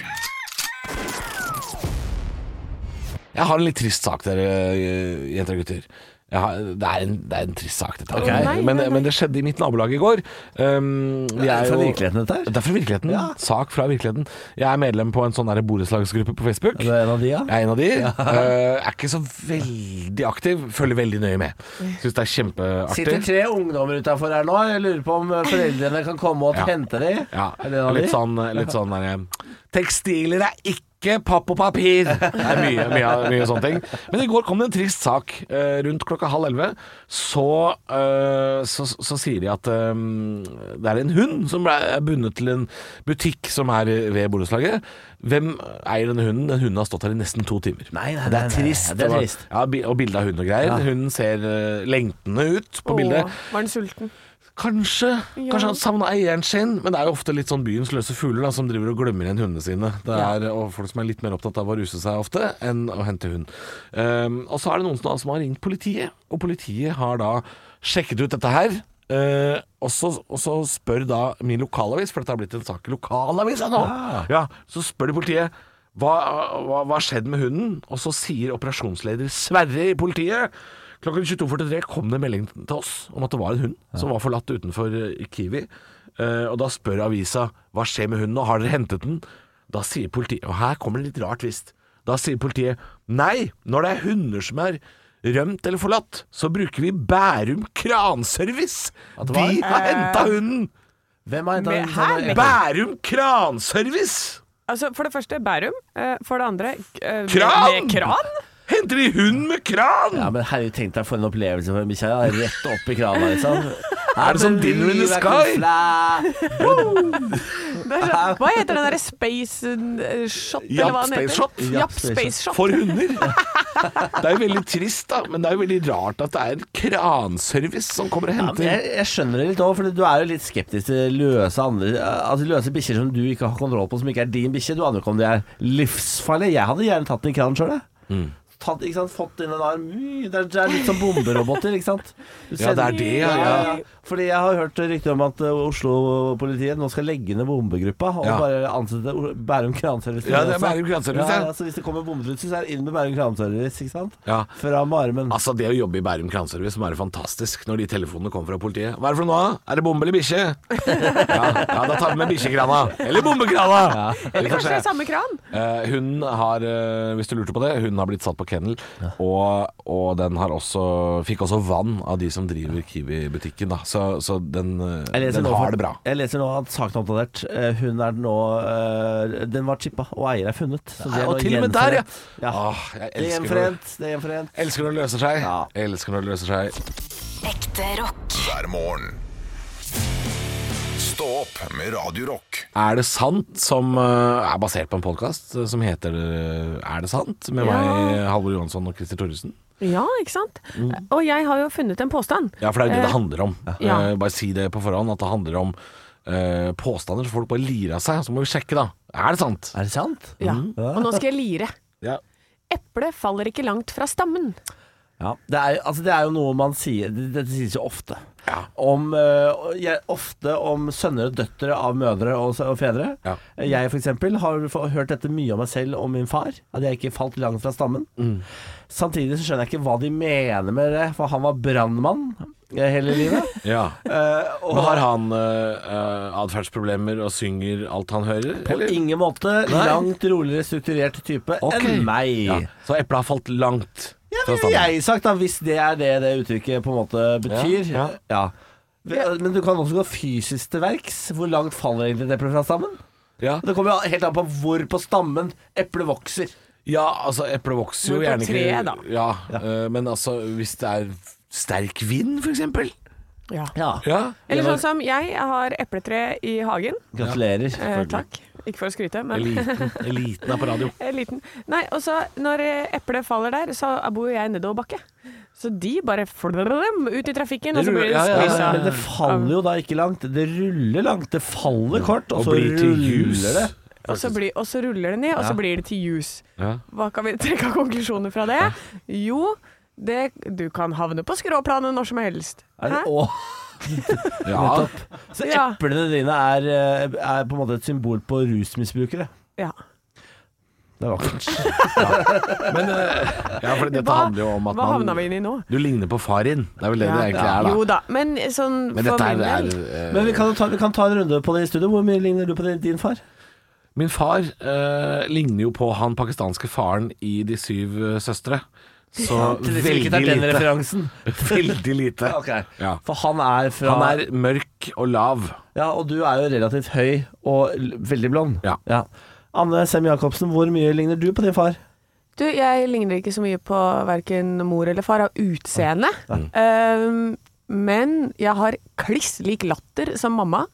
C: Jeg har en litt trist sak der, eh, jenter og gutter. Jeg har, det, er en, det er en trist sak, dette. her.
D: Å,
E: nei,
C: men,
E: nei, nei.
C: men det skjedde i mitt nabolag i går. Um, vi
D: Det
C: er
D: er fra
C: jo-
D: virkeligheten, dette her.
C: Det er fra virkeligheten. Sak fra virkeligheten. Jeg er medlem på en sånn der borettslagsgruppe på Facebook.
D: Du er en av de, ja?
C: Jeg er en av de. Eh, er ikke så veldig aktiv. Følger veldig nøye med. Syns det er
D: Sitter
C: kjempeartig.
D: tre ungdommer utafor her nå. Jeg lurer på om foreldrene kan komme og
C: Ja.
D: hente dem.
C: Ja,
D: Er det en av
C: litt
D: de?
C: sånn, litt sånn der, Tekstiler er ikke papp og papir! Det er mye, mye, mye sånne ting. Men i går kom det en trist sak. Eh, Rundt klokka halv elleve så, eh, så, så sier de at eh, det er en hund som er bundet til en butikk som er ved borettslaget. Hvem eier denne hunden? Den hunden har stått her i nesten to timer.
D: Nei, nei,
C: Og det
D: nei,
C: er
D: nei,
C: trist.
D: det er
C: var-
D: trist.
C: Ja, bi- og bilde av hund og greier. Hunden ser eh, lengtende ut på bildet.
E: Å, var den sulten?
C: Kanskje.
E: Ja.
C: Kanskje han savna eieren sin. Men det er jo ofte litt sånn byens løse fugler da, som driver og glemmer igjen hundene sine. Det er og folk som er litt mer opptatt av å ruse seg ofte enn å hente hund. Ehm, og så er det noen som, da, som har ringt politiet, og politiet har da sjekket ut dette her. Eh, og, så, og så spør da min lokalavis, for dette har blitt en sak i lokalavisa nå, ja, så spør de politiet hva hva- hva har skjedd med hunden? Og så sier operasjonsleder Sverre i politiet Klokken 22.43 kom det en melding til oss om at det var en hund som var forlatt utenfor eh, Kiwi. Eh, og da spør avisa hva skjer med hunden, og har dere hentet den? Da sier politiet, og her kommer det litt rart visst, da sier politiet nei, når det er hunder som er rømt eller forlatt, så bruker vi Bærum kranservice.
D: det
C: De
D: var- Eh.
C: har henta hunden!
D: Hvem har henta
E: Men her-
D: den?
C: Bærum kranservice!
E: Altså, for det første Bærum. eh, For det andre eh,
C: Kran!
E: Med kran?
C: Henter de hund med kran?!
D: Ja, men herregud, tenk deg for en opplevelse for en bikkje. ja. Rett opp i krana, liksom.
C: Er det som Dinner in the Sky?
E: Det er sånn- Hva heter den derre Space eh, Shot,
C: Japp,
E: eller hva den
C: Space
E: heter?
C: Shot.
E: Japp Space Shot.
C: For hunder! Det er jo veldig trist, da, men det er jo veldig rart at det er en kranservice som kommer og
D: Ja, men
C: henter
D: jeg, jeg skjønner det litt òg, for du er jo litt skeptisk til løse andre Altså løse bikkjer som du ikke har kontroll på, som ikke er din bikkje. Du aner jo ikke om de er livsfarlige. Jeg hadde gjerne tatt den i kranen sjøl, jeg.
C: Mm.
D: Tatt, ikke sant? Fått inn en arm Ui, Det er, det er litt som bomberoboter, ikke sant? Du
C: Ja, det er
D: sender-
C: det, ja, ja.
D: Fordi jeg har hørt rykter om at eh, Oslo-politiet nå skal legge ned bombegruppa og
C: Ja.
D: bare ansette O- Bærum Kranservice.
C: Ja, det er Bærum Kranservice,
D: Ja,
C: ja.
D: altså, hvis det kommer bombetrussel, så er det inn med Bærum Kranservice, ikke sant?
C: Ja.
D: Fra Maremen.
C: Altså Det å jobbe i Bærum kranservice må være fantastisk når de telefonene kommer fra politiet. Hva er det for noe? da? Er det bombe eller bikkje? Ja, ja, da tar vi med bikkjekrana. Eller bombekrana! Vi
E: Eller
C: får
E: kanskje
C: se.
E: det er samme kran?
C: Eh, hun har, eh, hvis du lurte på det, hun har blitt satt på kennel. Og, og den har også fikk også vann av de som driver Kiwi-butikken, da. Så, så den, eh,
D: Jeg leser
C: den
D: nå-
C: har det bra.
D: Jeg leser nå at saken er oppdatert. Eh, Hun er nå eh, Den var chippa, og eier er funnet. Så det er
C: og
D: nå
C: til og med der, ja!
D: gjenforent.
C: Åh, jeg
D: Det er
C: elsker når,
D: gjenforent. Det er gjenforent.
C: elsker når det løser seg.
D: Ja.
C: Elsker når det løser seg.
A: Ekte rock.
B: hver morgen. Stå opp med Radio Rock.
C: Er det sant, som eh, er basert på en podkast som heter eh, Er det sant? Med
E: Ja.
C: meg, Halvor Johansson og Christer Thoresen.
E: Ja, ikke sant? Og jeg har jo funnet en påstand.
C: Mm. Ja, for det er jo det
E: Eh,
C: det handler om.
E: Ja.
C: Eh, bare si det på forhånd, at det handler om eh, påstander som folk bare lirer av seg. Så må vi sjekke, da. Er det sant?
D: Er det sant? Mm.
E: Ja.
C: Mm.
E: Og nå skal jeg lire.
C: Ja.
E: Eplet faller ikke langt fra stammen.
D: Ja, det er, altså det er jo noe man sier det- Dette sies jo ofte. Om, eh, og jeg, ofte om sønner og døtre av mødre og, s- og fedre.
C: Ja.
D: Jeg for eksempel har f- hørt dette mye om meg selv og min far. At jeg ikke falt langt fra stammen.
C: Mm.
D: Samtidig så skjønner jeg ikke hva de mener med det, for han var brannmann eh, hele livet.
C: Ja.
D: Eh, og
C: Men har han uh, atferdsproblemer og synger alt han hører?
D: på
C: eller?
D: ingen måte
C: Nei.
D: langt roligere strukturert type
C: Ok.
D: enn meg.
C: Ja. Så eplet har falt langt
D: Ja,
C: fra
D: det ville
C: stammen?
D: jeg sagt, da, hvis det er det det uttrykket på en måte betyr.
C: Ja,
D: Ja, Men du kan også gå fysisk til verks. Hvor langt faller egentlig det eplet fra stammen?
C: Ja.
D: Det kommer jo helt an på hvor på stammen eplet vokser.
C: ja, altså eplet vokser
E: Hvor
C: jo
E: på
C: gjerne
E: treet, da.
C: Ja, eh, men altså hvis det er sterk vind, for eksempel.
E: Ja.
D: Ja,
C: Ja.
E: Eller sånn som jeg har epletre i hagen.
D: Gratulerer.
E: Eh, takk. Ikke for å skryte, men
C: Eliten, eliten er på radio.
E: Jeg er liten. Nei, og så når eh, eplet faller der, så bor jo jeg nedoverbakke. Så de bare flør dem ut i trafikken, og så blir de
C: Ja, ja, ja,
E: spist
C: ja.
E: av.
D: Men det faller jo da ikke langt. Det ruller langt. Det faller kort, og,
C: Og
D: så
C: blir til jus.
D: Altså, ruller det.
E: Og så, blir, og så ruller det ned, og så blir det til jus.
C: Ja.
E: Hva kan vi trekke av konklusjoner fra det? Jo, det, du kan havne på skråplanet når som helst.
D: Er det
E: Hæ?
D: å,
C: Ja.
E: Ja.
D: så Altså, eplene dine er, eh, er på en måte et symbol på rusmisbrukere.
E: Ja.
D: Det er vakkert.
C: Men eh, ja, for dette
E: Hva-
C: handler jo om at
E: Hva havna vi
C: man
E: inn i nå?
C: Du ligner på far din. Det er vel det det egentlig er, da.
E: Jo da, men sånn
C: Men
E: for
C: dette
E: min
C: er,
E: del
C: er eh,
D: Men vi kan, jo ta, vi kan ta en runde på det i studio. Hvor mye ligner du på din- din far?
C: Min far eh, ligner jo på han pakistanske faren i De syv eh, søstre. Så veldig lite.
D: referansen.
C: Veldig lite. Ja.
D: For han er fra
C: Han er mørk og lav.
D: Ja, og du er jo relativt høy og l- veldig blond.
C: Ja.
D: Anne Sem Jacobsen, hvor mye ligner du på din far?
E: Du, jeg ligner ikke så mye på verken mor eller far av utseende.
C: Mm.
E: Um, men jeg har kliss lik latter som mamma.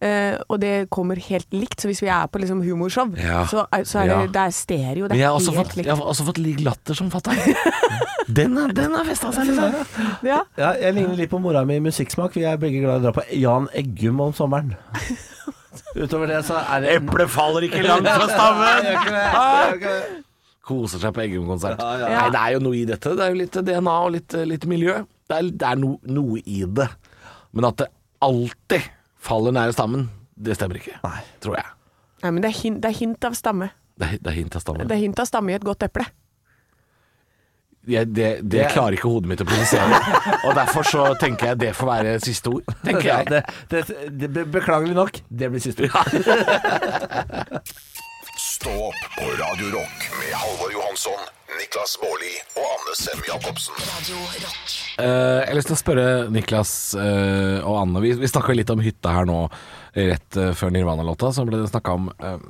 E: Eh, og det kommer helt likt, så hvis vi er på liksom humorshow,
C: Ja.
E: så, er- så er det,
C: Ja.
E: det er stereo. Det
C: Men
E: er
C: jeg har også
E: helt
C: fått, jeg har også fått lik latter som fatter'n. Den har den altså, har festa seg litt. der.
E: likt. Ja.
D: Ja, jeg ligner litt på mora mi i musikksmak. Vi er begge glad i å dra på Jan Eggum om sommeren. Utover det så er det
C: Eplet faller ikke langt fra stammen.
D: Hæ?
C: Koser seg på Eggum-konsert.
E: Ja.
C: Nei, det er jo noe i dette. Det er jo litt DNA og litt, litt miljø. Det er, det er no, noe i det. Men at det alltid faller nære stammen, det stemmer ikke.
D: Nei.
C: Tror jeg.
E: Nei, men det er, hint, det er hint av stamme.
C: Det er, det er hint av stammen.
E: Det er hint av stamme i et godt eple.
C: jeg, det, det, klarer ikke hodet mitt å prosessere. og derfor så tenker jeg det får være siste ord. Tenker
D: Ja,
C: jeg.
D: det, det, det, be- beklagelig nok, det blir siste ord.
B: Stå opp på Radio Rock med Halvor Johansson, Niklas Baarli og Anne Sem Jacobsen.
A: Radio Rock.
C: Eh, jeg har lyst til å spørre Niklas eh, og Anne. Vi, vi snakka litt om hytta her nå rett eh, før Nirvana-låta. Så ble det snakka om eh,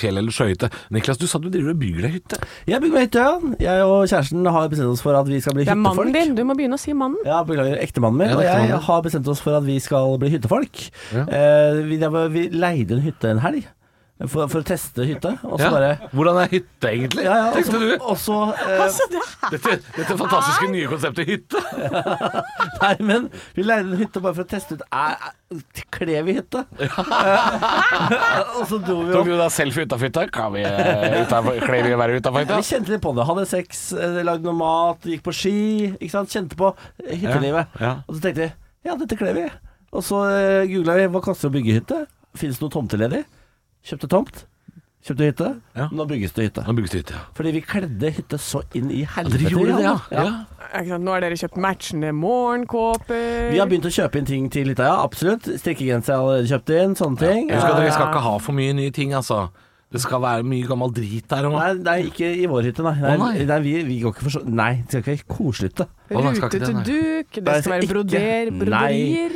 C: fjell eller sjøhytte. Niklas, du sa du driver og bygger deg hytte.
D: Jeg bygger meg hytte, ja. Jeg og kjæresten har bestemt oss for at vi skal bli
E: Det er
D: hyttefolk.
E: mannen din. Du må begynne å si mannen.
D: Ja, beklager, ektemannen min
C: Ja,
D: og
C: ektemannen
D: jeg
C: din.
D: har bestemt oss for at vi skal bli hyttefolk.
C: Ja.
D: Eh, vi, det var- vi leide en hytte en helg for, for å teste hytte, og så bare
C: Hvordan er hytte egentlig?
D: ja, ja, og
C: tenkte
D: så-
C: du.
D: og så eh,
E: Altså, det er
C: Dette, dette fantastiske nye konseptet hytte.
D: Nei, men vi leide en hytte bare for å teste ut er, er, Kler vi hytte? Eh, og så dro vi
C: Tok du
D: opp.
C: da selfie utafor hytta? Kan vi, eh, utenfor- Kler vi å være utafor
D: Vi
C: hytta?
D: kjente litt på det. Hadde sex, eh, lagde noe mat, gikk på ski. Ikke sant? Kjente på eh, hyttelivet.
C: Ja, ja.
D: Og så tenkte vi ja, dette kler vi. Og så eh, googla jeg hva koster det å bygge hytte. Fins det noen tomter ledig? Kjøpte tomt. Kjøpte hytte.
C: Ja.
D: Nå bygges det hytte.
C: Nå bygges det ut, ja.
D: Fordi vi kledde hytte så inn i helvete.
C: Dere gjorde
D: i
C: det, ja.
D: alle.
C: ja.
E: Ikke sant? Nå har dere kjøpt matchende morgenkåper.
D: Vi har begynt å kjøpe inn ting til hytta, ja. Absolutt. Strikkegenser er allerede kjøpt inn. Sånne ting.
C: Husk at
D: Ja.
C: dere skal ikke ha for mye nye ting, altså. Det skal være mye gammel drit der og
D: Nei, nei, ikke i vår hytte, nei. nei,
C: Å, nei.
D: nei vi, vi går ikke for så Nei, det skal ikke være kosehytte.
C: Å, nei, skal ikke det,
E: Rutete
C: nei.
E: duk, det skal være
D: ikke-
E: broder, broderier.
D: Nei,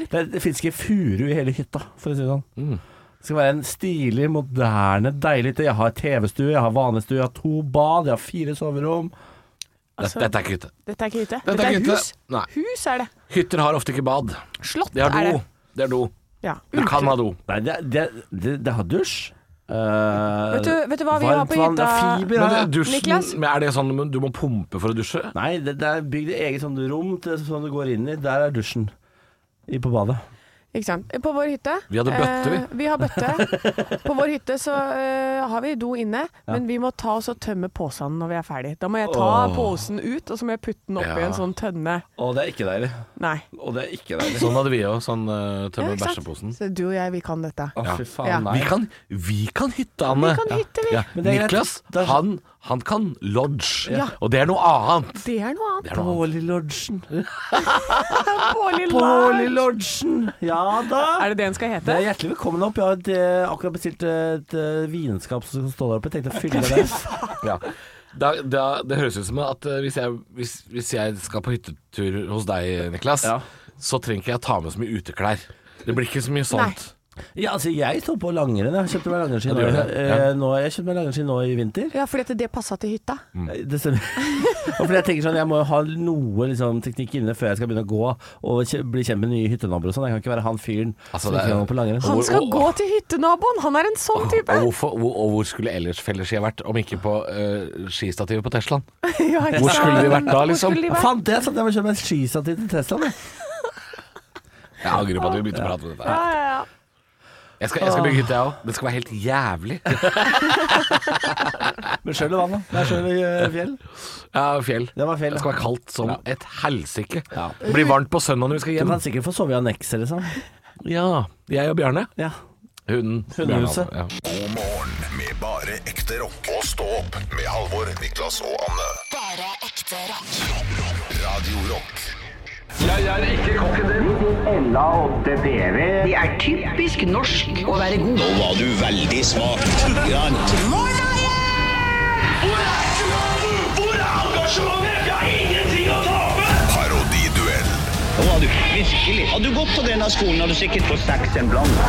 D: det, er- det fins ikke furu i hele hytta, for å si det sånn. Det skal være en stilig, moderne, deilig hytte. Jeg har TV-stue, jeg har vanestue, jeg har to bad, jeg har fire soverom.
C: Dette,
E: Altså-
C: dette er ikke hytte.
E: Dette er ikke hytte.
C: Dette
E: Dette
C: er
E: er
C: ikke hytte.
E: hus.
C: Nei.
E: Hus er det.
C: Hytter har ofte ikke bad.
E: Slott
C: De har do.
E: er det.
C: Det er do.
E: Ja.
C: Du kan ha do.
D: Nei, det, det, det, det har dusj. Eh,
E: Vet du- vet du hva vi har
D: varmt
E: på
D: vann, det er
E: hytta?
D: Fiber,
C: Men det,
D: ja.
E: Niklas?
C: dusjen, men er det sånn men du må pumpe for å dusje?
D: Nei, det, det er bygd et eget sånn rom til, som du går inn i. Der er dusjen. I, på badet.
E: Ikke sant. På vår hytte
C: Vi hadde bøtte, vi.
E: eh, vi har bøtte. På vår hytte så eh, har vi do inne, men vi må ta oss og tømme posen når vi er ferdig. Da må jeg ta posen ut, og så må jeg putte den oppi
C: Ja.
E: en sånn tønne.
D: Å, det er ikke deilig.
E: Nei.
D: Å, det er ikke deilig.
C: Sånn hadde vi òg. Sånn eh,
E: Ja,
C: tømme
E: ikke sant?
C: bæsjeposen.
E: Så du og jeg, vi kan dette.
D: Å, fy faen,
E: Ja.
D: nei.
C: Vi kan, vi kan hytte, Anne.
E: Vi kan hytte, vi.
C: Ja.
D: Men det er greit.
C: Niklas,
D: Da-
C: han, han kan lodge.
E: Ja.
C: Og det er noe annet.
E: Det er noe annet.
C: Det er noe annet.
D: Lodgen.
E: Pålig
D: Bårli
E: lag.
D: Lodgen. Ja da.
E: Er det det den skal
D: Det
E: hete?
D: er hjertelig velkommen opp. Jeg har et, eh, akkurat bestilt eh, et eh, vinskap som skal stå der oppe. Jeg tenkte å fylle det.
C: Ja. Da, da, det høres ut som at eh, hvis jeg, hvis, hvis jeg skal på hyttetur hos deg, Niklas,
D: Ja.
C: så trenger ikke jeg ta med så mye uteklær. Det blir ikke så mye sånt.
D: Ja, altså, jeg står på langrenn. Jeg kjøpte meg langrennsski
C: Ja, du
D: nå,
C: gjør det,
D: eh,
C: ja.
D: nå, jeg kjøpte meg langrennsski nå i vinter.
E: Ja, fordi at det passa til hytta.
C: Mm.
D: Eh, Det stemmer. Og fordi jeg tenker sånn, jeg må jo ha noe liksom, teknikk inne før jeg skal begynne å gå og kje- bli kjent med nye hyttenaboer og sånn. Jeg kan ikke være han fyren
C: Altså,
D: som
C: det er-
D: ikke kan gå på langrenn.
E: Han
C: Hvor-
E: skal
C: og-
E: gå til hyttenaboen! Han er en sånn
C: Og
E: type!
C: hvorfor, hvor, og hvor skulle ellers fellesski vært, om ikke på eh, skistativet på Teslaen?
E: Ja, ikke
C: Hvor skulle de
E: sant?
C: vært da,
E: Hvor
C: liksom?
E: skulle de vært?
D: Faen, det er sant! Jeg må kjøpe meg skistativ til Teslaen. jeg.
C: Jeg angrer på at vi begynte å prate om dette.
E: Ja,
C: her.
E: ja, ja.
C: Jeg skal, jeg skal bygge hytte, jeg òg. Det skal være helt jævlig.
D: Med sjøl og vann, da. Det er sjøl og eh, fjell.
C: Ja, fjell.
D: Det var
C: Det
D: fjell. ja.
C: skal være kaldt som
D: Ja.
C: et helsike.
D: Ja.
C: Det blir varmt på søndag når vi skal
D: Du
C: hjem.
D: kan sikkert få sove i annekset, liksom.
C: Ja, jeg og Bjarne.
D: Ja.
C: Hunden.
D: Hundehuset.
C: Bjarne, altså.
B: God morgen med bare ekte rock. Og stå opp med Halvor, Niklas og Anne.
A: Bare ekte rock.
B: Radio Rock
H: Det er typisk norsk å være god.
I: Nå var du veldig smak.
F: Hvor er engasjementet? Jeg har ingenting å tape!
B: Parodiduell.
I: Nå var du virkelig. Hadde du gått på denne skolen, hadde du sikkert fått seks en blank.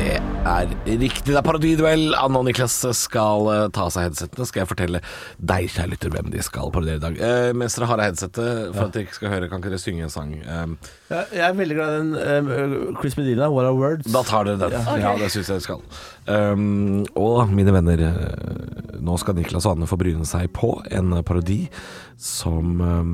C: Det er riktig. Det er parodiduell. Anne og Niklas skal eh, ta av seg headsettene. Skal jeg fortelle deg, kjære lytter, hvem de skal parodiere i dag. Eh, mens dere har av headsetet, for at dere ikke skal høre, kan ikke dere synge en sang? Eh,
D: Jeg, jeg er veldig glad i den um, Chris Medina, What Are Words.
C: Da tar dere den. Ja, det syns jeg dere skal. Um, og mine venner, eh, nå skal Niklas og Anne få bryne seg på en parodi som um,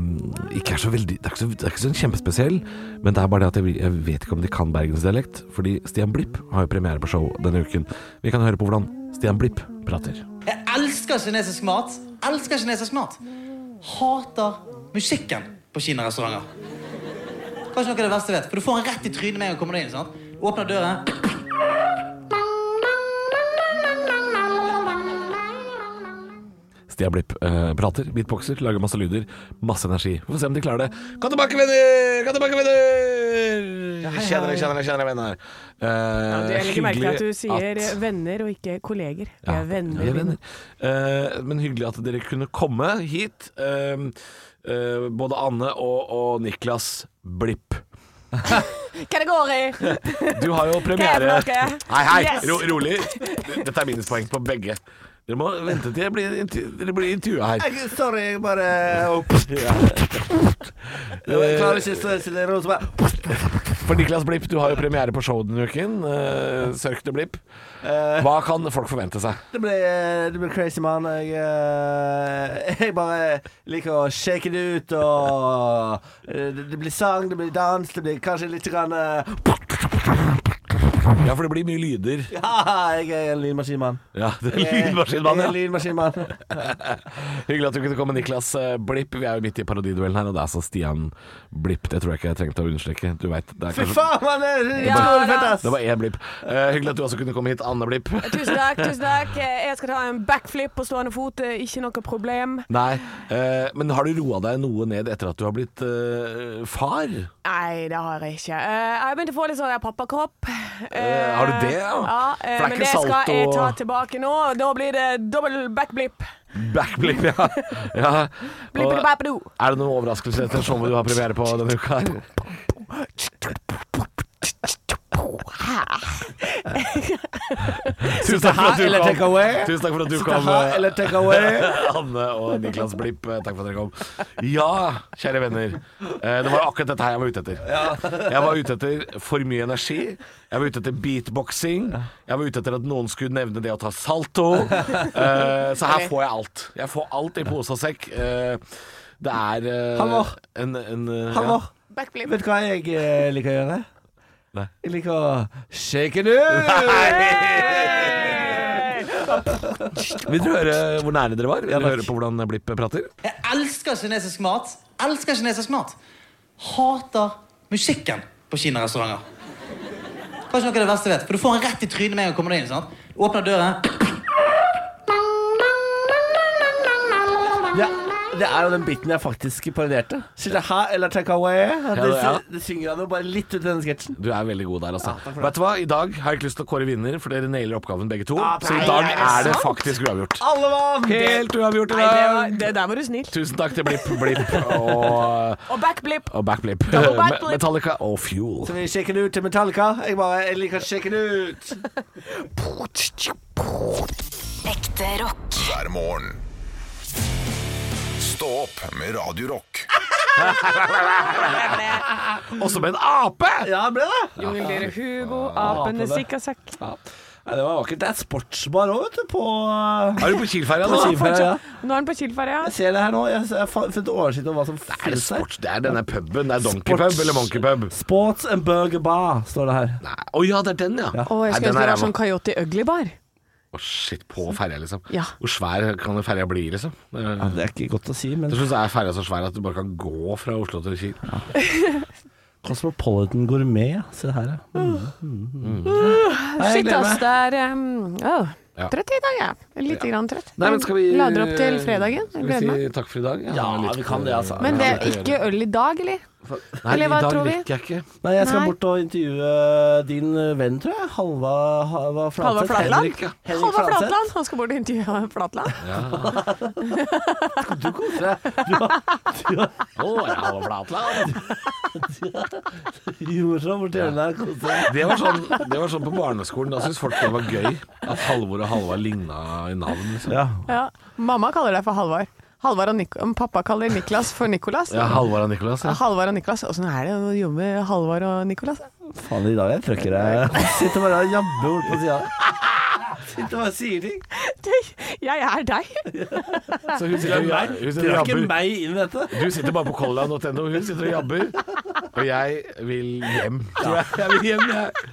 C: ikke er så veldig Det er ikke så, det er ikke så kjempespesiell, men det er bare det at jeg, jeg vet ikke om de kan bergensdialekt. Fordi Stian Blipp har jo premiere på show denne uken. Vi kan høre på hvordan Stian Blipp prater.
J: Jeg elsker kinesisk mat. Elsker kinesisk mat. Hater musikken på kinarestauranter. Kanskje noe av det verste jeg vet. For du får den rett i trynet med en gang du kommer deg inn. sant? Du åpner døren.
C: Stian Blipp eh, prater, beatboxer, lager masse lyder, masse energi. Vi får se om de klarer det. Kom tilbake, venner! Kom tilbake, venner! Kjenner deg, kjenner deg, kjenner deg, venner. Eh,
E: Ja, du, jeg legger merke til at du sier eh,
C: at-
E: venner og ikke kolleger. Vi
C: Ja,
E: er venner.
C: vi er venner. Eh, men hyggelig at dere kunne komme hit. Eh, eh, både Anne og, og Niklas Blipp.
E: Kategori!
C: Du har jo premiere
E: Hva er det for noe?
C: Hei, hei,
E: Yes!
C: ro, rolig. Dette er minuspoeng på begge. Dere må vente til jeg blir intervju- dere blir intervjua her.
D: Sorry, jeg bare Jeg klarer
C: Eh,
D: ikke å stille ro som jeg
C: For Niklas Blipp, du har jo premiere på show denne uken. Uh, Søk til Blipp.
D: Eh.
C: Hva kan folk forvente seg?
D: Det ble, det ble crazy, mann. Jeg, eh, jeg bare liker å shake det ut og eh, Det det blir sang, det blir dans, det blir kanskje litt grann eh,
C: Ja, for det blir mye lyder.
D: Ja, jeg er en lynmaskinmann.
C: Ja, det er
D: Jeg er
C: lydmaskinmann, ja.
D: en lynmaskinmann.
C: Hyggelig at du kunne komme, Niklas eh, Blipp. Vi er jo midt i parodiduellen her, og det er altså Stian Blipp. Det tror jeg ikke jeg trengte å understreke. Du vet, det er
D: Fy
C: kanskje
D: faen, man er
E: Ja,
D: utrolig fett,
E: da.
D: ass!
C: Det var én blipp. Eh, hyggelig at du også kunne komme hit, Anne Blipp.
E: Tusen takk, tusen takk. Jeg skal ta en backflip på stående fot, eh, ikke noe problem.
C: Nei, eh, men har du roa deg noe ned etter at du har blitt eh, far?
E: Nei, det har jeg ikke. Eh, Jeg begynte å få litt sånn der pappakropp. Eh,
C: har du det, ja?
E: ja eh,
C: For det er
E: men
C: ikke
E: det skal
C: salto-
E: jeg ta tilbake nå. Da blir det dobbel backflip.
C: Backblip, ja. ja. Og
E: Blippity-bappity-doo.
C: er det noen overraskelse etter showet du har premiere på denne uka? her? Tusen takk for at du
D: eller take
C: kom.
D: away?
C: Tusen takk for at du
D: Sitte
C: kom.
D: her,
C: eh,
D: eller take away?
C: Anne og Niklas Blipp, eh, takk for at dere kom. Ja, kjære venner. eh, Det var akkurat dette her jeg var ute etter. Jeg var ute etter for mye energi. Jeg var ute etter beatboxing. Jeg var ute etter at noen skulle nevne det å ta salto. Eh, Så her får jeg alt. Jeg får alt i pose og sekk. Eh, Det er eh,
D: Halvor.
C: en, en eh,
D: Halvor,
E: Backflip.
D: vet du hva jeg eh, liker å gjøre?
C: Nei.
D: Jeg liker å shake it ut!
C: ja. Vil dere høre hvor nære dere var? Vil dere høre på hvordan Blipp prater?
J: Jeg elsker kinesisk mat. Elsker kinesisk mat. Hater musikken på kinarestauranter. Kanskje noe av det verste jeg vet. For du får den rett i trynet med en gang du kommer deg inn. sant? Du åpner døren.
D: Ja, det er jo den biten jeg faktisk parodierte. Sitte her, eller take away? Det,
C: ja.
D: det synger han jo bare litt ut i denne sketsjen.
C: Du er veldig god der, altså. Vet du hva, I dag har jeg ikke lyst til å kåre vinner, for dere nailer oppgaven begge to.
D: Ah,
C: så i
D: nei,
C: dag
D: er det
C: er det faktisk uavgjort.
D: Alle mann!
C: Helt uavgjort i
E: Nei, det, var,
C: dag.
E: det der var du snill.
C: Tusen takk til Blipp, Blipp og,
E: Og backflip.
C: og Backblip.
E: Double backflip.
C: Metallica og Fuel.
D: Skal vi shake it ut til Metallica? Jeg bare jeg liker å shake it ut.
A: Ekte rock.
B: hver morgen. Stå opp med Radio Rock.
C: Også med en ape!
D: Ja, det ble det.
E: Jungel dere Hugo, apene sikkersekk.
D: Ja. Nei, det var vakkert. Det er sportsbar òg, vet du, på
C: Er du på Kiel-ferja?
D: På
C: nå?
D: Kiel-ferja. Ja, ja.
E: Nå er han på Kielferja.
D: Jeg ser det her nå. Jeg har funnet oversikt over hva som
C: Er det
D: finnes her.
C: sport? Det er denne puben. Det er
D: Sports-
C: donkeypub eller monkeypub.
D: Sports and Burger Bar, står det her.
C: Nei, Å ja, det er den, ja.
E: Å,
C: Nei,
E: jeg skulle
C: den
E: ønske det
C: er
E: var sånn
C: ræva.
E: Coyote Ugly Bar.
C: Å, shit, på ferja, liksom.
E: Ja.
C: Hvor svær kan en ferja bli, liksom?
D: Ja,
C: Jeg
D: det er ikke godt å si, men
C: syns jeg er ferja så svær at du bare kan gå fra Oslo til Kiel.
D: Cosmopolitan Gourmet, se her, ja. Mm. Nei, jeg
E: Shit,
D: gleder
E: ass.
D: meg.
E: Det er um, åh,
C: Ja.
E: Trøtt i dag, jeg. Litt grann trøtt.
C: Nei, men skal vi eh,
E: Lader opp til fredagen.
C: Skal vi
E: Gleder meg.
C: si takk for i dag? Jeg
D: Ja,
C: har litt-
D: vi kan det, altså.
E: Men det
C: Ja,
E: er ikke øl i dag, eller?
C: Nei,
E: eller hva
C: i dag
E: tror vi?
C: rekker jeg ikke.
D: Nei, jeg skal
E: Nei.
D: bort og intervjue din venn, tror jeg. Halva, halva Flatseth.
E: Halvard Flatland?
D: Henrik, ja. Henrik
E: Halvard
D: Flatseth.
E: Flatland. Han skal bort og intervjue Flatland.
D: Du koser deg. Du har, du har
C: Å, jeg har flatland.
D: jorda borti hjørnet der. Koser deg.
C: Det var, sånn, det var sånn på barneskolen. Da syntes folk det var gøy at Halvor og Halvard ligna i navn. Liksom.
D: Ja.
E: Ja. Mamma kaller deg for Halvard. Halvard og Nik Pappa kaller Niklas for Nikolas.
C: Ja, Halvard og Nicolas. Ja.
E: Halvard og Niklas. Åssen er det å jobbe med Halvard og Nikolas?
D: Faen, i dag er jeg trøkker deg. Sitter bare og jabber bort på sida. Sitter bare og sier ting.
E: Du, Jeg er deg.
C: Så hun sitter, og- hun sitter
D: Drar
C: og
D: ikke
C: jabber.
D: meg inn i dette.
C: Du sitter bare på collan.no, hun sitter og jabber. Og jeg vil hjem, tror jeg. Jeg vil hjem, jeg.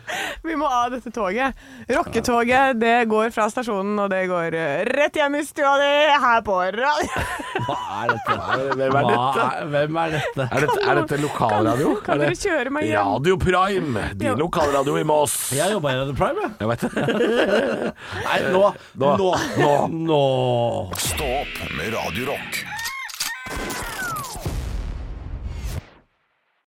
E: Vi må av dette toget. Rocketoget, det går fra stasjonen, og det går eh, rett hjem i stua di her på radio.
D: Hva er dette?
C: Hvem er dette?
D: Hva er- Hvem er dette?
C: Er dette, er dette lokalradio?
E: Kan
C: Er
E: dere
C: det-
E: kjøre meg hjem?
C: Radio Prime, din lokalradio i Moss.
D: Jeg jobba i Radio Prime, jeg.
C: Jeg vet det.
D: Nei, nå. Nå.
C: Nå.
D: nå.
B: Stå opp med Radio Rock.